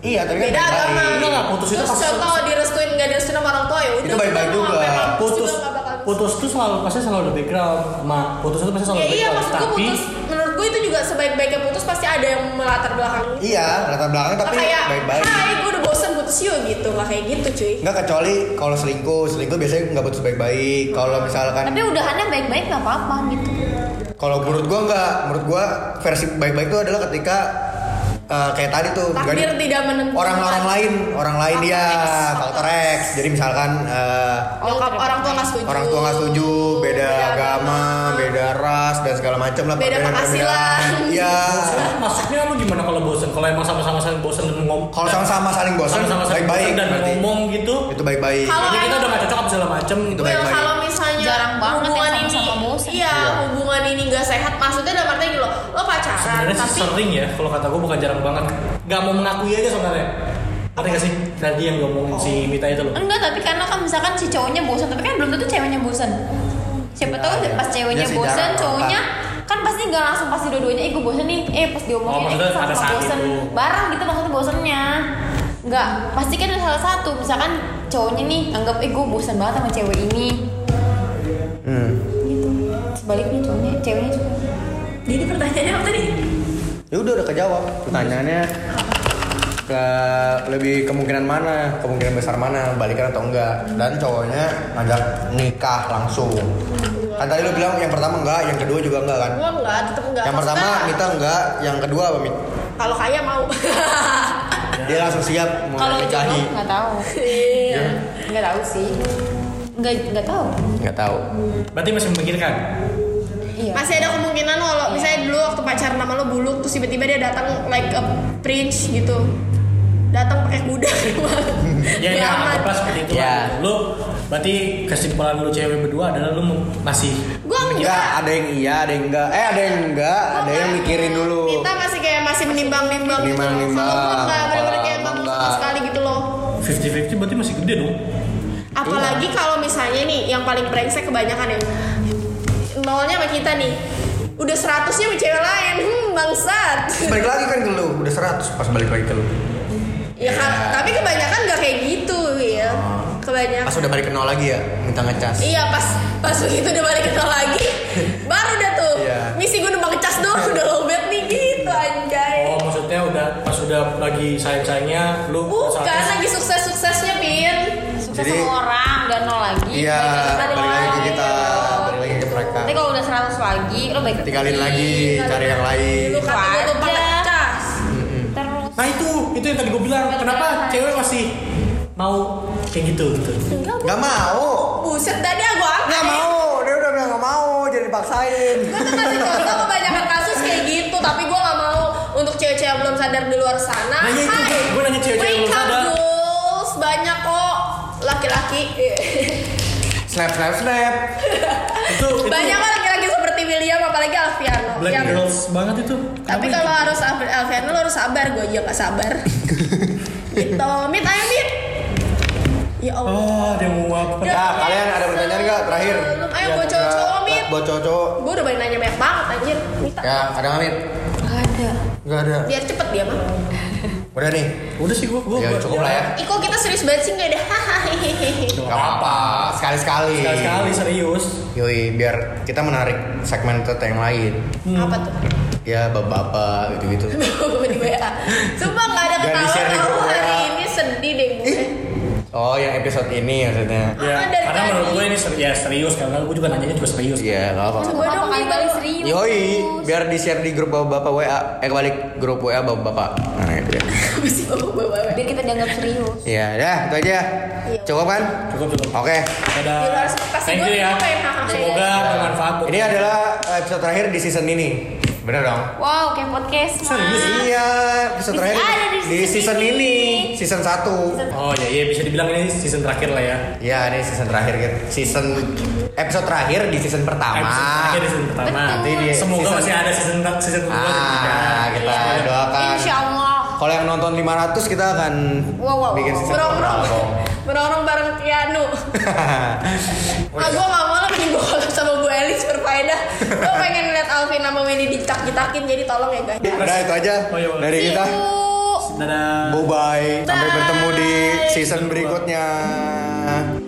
[SPEAKER 3] Iya tapi kan
[SPEAKER 1] beda agama
[SPEAKER 2] Enggak, enggak, putus itu
[SPEAKER 1] terus
[SPEAKER 2] kasus-
[SPEAKER 1] contoh direstuin nggak direstuin sama orang tua ya udah
[SPEAKER 3] Itu baik-baik
[SPEAKER 1] kita mau
[SPEAKER 3] juga.
[SPEAKER 1] sampai mampus
[SPEAKER 2] Putus
[SPEAKER 1] juga nggak bakal bisa.
[SPEAKER 2] putus tuh selalu pasti selalu ada background. Ma, putus itu pasti selalu
[SPEAKER 1] ya
[SPEAKER 2] ada
[SPEAKER 1] iya
[SPEAKER 2] background.
[SPEAKER 1] maksud gue
[SPEAKER 2] Tapi
[SPEAKER 1] putus menurut gue itu juga sebaik-baiknya putus pasti ada yang melatar belakang
[SPEAKER 3] Iya latar belakang
[SPEAKER 1] Nggak
[SPEAKER 3] tapi
[SPEAKER 1] kayak
[SPEAKER 3] baik-baik.
[SPEAKER 1] hai gue udah bosen putus yuk gitu nggak kayak gitu cuy
[SPEAKER 3] Enggak kecuali kalau selingkuh, selingkuh biasanya nggak putus baik-baik. Kalau misalkan,
[SPEAKER 4] tapi udahannya baik-baik nggak apa-apa gitu.
[SPEAKER 3] kalau menurut gua nggak, menurut gua versi baik-baik itu adalah ketika eh, kayak tadi tuh
[SPEAKER 1] takdir
[SPEAKER 3] jadi
[SPEAKER 1] tidak menentukan
[SPEAKER 3] orang-orang lain, orang lain
[SPEAKER 1] Faktor
[SPEAKER 3] ya,
[SPEAKER 1] X,
[SPEAKER 3] faktor
[SPEAKER 1] faktor
[SPEAKER 3] X. Jadi misalkan eh,
[SPEAKER 1] Nyokap- orang tua nggak setuju
[SPEAKER 3] orang tua nggak setuju, beda agama, beda ras dan segala macam lah.
[SPEAKER 1] Beda
[SPEAKER 3] perbedaan-perbedaan.
[SPEAKER 1] penghasilan.
[SPEAKER 3] Iya.
[SPEAKER 2] Maksudnya- maksudnya lu gimana kalau bosen? Kalau emang sama-sama saling bosen dan ngomong
[SPEAKER 3] Kalau sama-sama saling bosan,
[SPEAKER 2] sama-sama saling
[SPEAKER 3] baik-baik
[SPEAKER 2] bosen dan
[SPEAKER 3] berarti.
[SPEAKER 2] ngomong gitu.
[SPEAKER 3] Itu baik-baik.
[SPEAKER 1] Kalau
[SPEAKER 2] Jadi kita
[SPEAKER 1] emang-
[SPEAKER 2] udah gak cocok apa segala macem
[SPEAKER 3] Itu
[SPEAKER 2] gitu.
[SPEAKER 1] Well,
[SPEAKER 3] baik-baik.
[SPEAKER 1] Iya, kalau misalnya
[SPEAKER 4] Jarang banget
[SPEAKER 1] hubungan
[SPEAKER 4] yang sama-sama
[SPEAKER 1] ini,
[SPEAKER 4] bosen.
[SPEAKER 1] Iya,
[SPEAKER 3] Iya.
[SPEAKER 1] hubungan ini nggak sehat. Maksudnya dalam artian gini loh, lo pacaran
[SPEAKER 2] Sebenarnya sih
[SPEAKER 1] tapi
[SPEAKER 2] sering ya, kalau kata gue bukan jarang banget. Gak mau mengakui aja sebenarnya. Ada gak sih tadi yang ngomongin si Mita itu loh?
[SPEAKER 4] Enggak, tapi karena kan misalkan si cowoknya bosan, tapi kan belum tentu ceweknya bosan. Siapa
[SPEAKER 3] Iya,
[SPEAKER 4] tahu
[SPEAKER 3] iya.
[SPEAKER 4] pas ceweknya
[SPEAKER 3] Iya sih,
[SPEAKER 4] bosan,
[SPEAKER 3] jarang
[SPEAKER 4] cowoknya
[SPEAKER 3] banget.
[SPEAKER 4] kan pasti nggak langsung pasti dua-duanya, eh gue bosan nih, eh pas
[SPEAKER 2] Oh,
[SPEAKER 4] diomongin,
[SPEAKER 2] maksudnya
[SPEAKER 4] eh
[SPEAKER 2] ada saat
[SPEAKER 4] sama bosan,
[SPEAKER 2] itu.
[SPEAKER 4] bareng gitu maksudnya bosannya. Enggak, pasti kan ada salah satu, misalkan cowoknya nih anggap eh gue bosan banget sama cewek ini,
[SPEAKER 3] Hmm.
[SPEAKER 4] gitu. Sebaliknya cowoknya, ceweknya juga.
[SPEAKER 1] jadi pertanyaannya apa tadi?
[SPEAKER 3] Ya udah udah kejawab. Pertanyaannya ke lebih kemungkinan mana, kemungkinan besar mana balikan atau enggak dan cowoknya ngajak nikah langsung. Kan tadi lu bilang yang pertama enggak, yang kedua juga enggak kan?
[SPEAKER 1] Gua enggak, tetap enggak.
[SPEAKER 3] Yang pertama
[SPEAKER 1] Maksudnya,
[SPEAKER 3] Mita enggak, yang kedua apa Mit?
[SPEAKER 1] kalau kaya mau.
[SPEAKER 3] Dia langsung siap mau
[SPEAKER 4] Kalau
[SPEAKER 3] nikahi.
[SPEAKER 4] jodoh nggak tahu,
[SPEAKER 1] Iya.
[SPEAKER 4] nggak tahu sih, nggak nggak tahu.
[SPEAKER 3] Enggak tahu.
[SPEAKER 2] Berarti masih memikirkan.
[SPEAKER 4] Iya.
[SPEAKER 1] Masih ada kemungkinan lo, lo- misalnya dulu waktu pacaran sama lo buluk terus tiba-tiba dia datang like a prince gitu. datang pakai kuda emang.
[SPEAKER 2] ya ini
[SPEAKER 1] Nggak aman.
[SPEAKER 2] anggaplah seperti itu
[SPEAKER 3] Ya.
[SPEAKER 2] lah. lu berarti kesimpulan lu cewek berdua adalah lu masih
[SPEAKER 1] Gua
[SPEAKER 3] Enggak, ada yang iya, ada yang enggak. Eh, ada yang enggak, ada yang mikirin dulu.
[SPEAKER 1] Kita masih kayak masih menimbang-nimbang gitu.
[SPEAKER 3] Menimbang-nimbang.
[SPEAKER 1] Kalau gua nggak bener-bener
[SPEAKER 3] Kalau
[SPEAKER 1] kayak emang
[SPEAKER 3] gua
[SPEAKER 1] sama
[SPEAKER 3] nggak.
[SPEAKER 1] sekali gitu loh.
[SPEAKER 2] 50-50 berarti masih gede dong
[SPEAKER 1] Apalagi
[SPEAKER 3] Iya.
[SPEAKER 1] kalau misalnya nih yang paling brengsek kebanyakan yang maunya sama kita nih. Udah seratusnya sama cewek lain. Hmm, bangsat.
[SPEAKER 3] Balik lagi kan ke lu, udah 100 pas balik lagi ke lu.
[SPEAKER 1] ya
[SPEAKER 3] Iya.
[SPEAKER 1] kan, tapi kebanyakan nggak kayak gitu ya.
[SPEAKER 3] Ah. Pas
[SPEAKER 1] Kebanyakan.
[SPEAKER 3] udah balik ke nol lagi ya, minta ngecas.
[SPEAKER 1] Iya pas pas begitu udah balik ke nol lagi baru dah tuh
[SPEAKER 3] Iya.
[SPEAKER 1] misi gue numpang ngecas doang udah lowbat nih gitu anjay.
[SPEAKER 2] oh maksudnya udah pas udah lagi sayang-sayangnya lu
[SPEAKER 3] Oh,
[SPEAKER 1] Bukan
[SPEAKER 2] saatnya-
[SPEAKER 1] lagi sukses-suksesnya Pin.
[SPEAKER 4] Sukses
[SPEAKER 3] Jadi-
[SPEAKER 4] sama orang udah nol lagi.
[SPEAKER 3] Iya,
[SPEAKER 4] balik
[SPEAKER 3] balik lagi ke
[SPEAKER 4] lagi
[SPEAKER 3] kita,
[SPEAKER 4] gitu.
[SPEAKER 3] balik lagi ke mereka.
[SPEAKER 4] Nanti kalau udah 100 lagi, lo balik
[SPEAKER 3] Tinggalin lagi,
[SPEAKER 1] Iya,
[SPEAKER 3] cari yang lain.
[SPEAKER 1] Lu kata gue
[SPEAKER 4] Wajar.
[SPEAKER 1] numpang ngecas.
[SPEAKER 3] Iya.
[SPEAKER 4] Terus
[SPEAKER 2] nah itu itu yang tadi gue bilang kenapa cewek masih mau kayak gitu gitu
[SPEAKER 3] Gak mau.
[SPEAKER 1] Buset tadi aku apa?
[SPEAKER 3] Gak mau, dia udah bilang gak mau, jadi dipaksain.
[SPEAKER 1] Gue tuh kasih contoh kebanyakan kasus kayak gitu, tapi gue gak mau untuk cewek-cewek yang belum sadar di luar sana.
[SPEAKER 2] Nah, iya itu,
[SPEAKER 1] Hai,
[SPEAKER 2] gue- gue nanya cewek-cewek yang belum
[SPEAKER 1] wake up,
[SPEAKER 2] sadar.
[SPEAKER 1] girls. banyak kok laki-laki.
[SPEAKER 3] Snap, snap, snap.
[SPEAKER 2] itu itu
[SPEAKER 1] banyak kok laki-laki seperti William apalagi Alfiano.
[SPEAKER 2] black
[SPEAKER 1] yang-
[SPEAKER 2] girls banget itu
[SPEAKER 1] Tapi
[SPEAKER 2] Kenapa
[SPEAKER 1] kalau
[SPEAKER 2] itu?
[SPEAKER 1] harus Alf- Alfiano lo harus sabar, gue aja gak sabar. gitu, mit ayo mit. Ya Allah.
[SPEAKER 2] oh dia mau apa
[SPEAKER 3] Ya, kalian ada pertanyaan nggak? Terakhir. Iya,
[SPEAKER 1] Ayo buat cowok-cowok, Mit.
[SPEAKER 3] Buat cowok-cowok.
[SPEAKER 1] Gue udah banyak nanya banyak banget anjir. Minta.
[SPEAKER 3] Ya, ada nggak, Mit?
[SPEAKER 4] gak ada.
[SPEAKER 3] Gak ada.
[SPEAKER 1] Biar cepet dia mah.
[SPEAKER 3] Udah nih.
[SPEAKER 2] udah sih gue gue
[SPEAKER 3] Ya, cukup lah ya.
[SPEAKER 1] Iko kita serius banget sih nggak ada. Hahaha.
[SPEAKER 3] Gak apa-apa, sekali-sekali.
[SPEAKER 2] sekali sekali serius
[SPEAKER 3] Yoi, biar kita menarik segmen ke yang lain.
[SPEAKER 1] Apa tuh?
[SPEAKER 3] Ya, bapak-bapak gitu-gitu.
[SPEAKER 1] Gue di WA. Sumpah nggak ada
[SPEAKER 3] Jangan
[SPEAKER 1] ketawa
[SPEAKER 3] di-share di
[SPEAKER 1] tahu
[SPEAKER 3] grup
[SPEAKER 1] hari
[SPEAKER 3] WA.
[SPEAKER 1] ini sedih deh gue.
[SPEAKER 3] Oh, yang episode ini maksudnya.
[SPEAKER 2] ya
[SPEAKER 1] Ah, dari
[SPEAKER 2] karena
[SPEAKER 1] tadi.
[SPEAKER 2] menurut gue ini serius ya serius karena gue juga nanyanya juga serius
[SPEAKER 3] Iya, gak apa-apa.
[SPEAKER 1] Coba dong
[SPEAKER 4] kali
[SPEAKER 1] kali
[SPEAKER 4] kali serius.
[SPEAKER 3] Yoi, biar di-share di grup bapak-bapak WA. Eh, balik grup WA bapak-bapak. Nah, itu ya.
[SPEAKER 1] Masih bawa-bawa.
[SPEAKER 4] Biar kita dianggap serius.
[SPEAKER 3] Iya, dah, itu aja. Cukup kan?
[SPEAKER 2] cukup cukup
[SPEAKER 3] Oke.
[SPEAKER 1] Di luar
[SPEAKER 2] Dadah.
[SPEAKER 1] sana pasti
[SPEAKER 2] Thank
[SPEAKER 1] gua
[SPEAKER 2] you ya.
[SPEAKER 1] dicobain, hahaha.
[SPEAKER 2] Semoga
[SPEAKER 1] Iya.
[SPEAKER 2] bermanfaat. buat
[SPEAKER 3] Ini adalah eh, episode terakhir di season ini. Bener dong?
[SPEAKER 4] Wow, kayak podcast. Mas.
[SPEAKER 2] Serius?
[SPEAKER 3] Iya, episode
[SPEAKER 4] Bisa
[SPEAKER 3] terakhir
[SPEAKER 4] ada di
[SPEAKER 3] di
[SPEAKER 4] season
[SPEAKER 3] season ini,
[SPEAKER 4] ini.
[SPEAKER 3] season 1.
[SPEAKER 2] Oh ya, iya bisa dibilang ini season terakhir lah ya.
[SPEAKER 3] Iya, ini season terakhir gitu. Season episode terakhir di season pertama.
[SPEAKER 2] Episode terakhir di Eh, season pertama.
[SPEAKER 4] Betul. Nanti
[SPEAKER 3] di
[SPEAKER 2] Semoga
[SPEAKER 3] season-
[SPEAKER 2] masih ada season season kedua. season
[SPEAKER 3] Ah,
[SPEAKER 2] ketiga.
[SPEAKER 3] kita doakan.
[SPEAKER 4] Insya Allah.
[SPEAKER 3] Kalau yang nonton 500 kita akan
[SPEAKER 4] Wow, wow,
[SPEAKER 3] bikin
[SPEAKER 4] wow.
[SPEAKER 3] season
[SPEAKER 1] Berorong,
[SPEAKER 3] berapa?
[SPEAKER 1] berorong bareng Tianu. Ah gue nggak mau lah mending gue collab sama Bu Elis berfaedah. Gue pengen lihat Alvin sama Meli ditak-ditakin jadi tolong ya guys.
[SPEAKER 3] Udah itu aja
[SPEAKER 2] Oh, iya,
[SPEAKER 3] dari
[SPEAKER 1] See ya.
[SPEAKER 3] kita.
[SPEAKER 1] you.
[SPEAKER 2] Dadah.
[SPEAKER 3] Bye bye. Sampai
[SPEAKER 1] Bye.
[SPEAKER 3] bertemu di season berikutnya.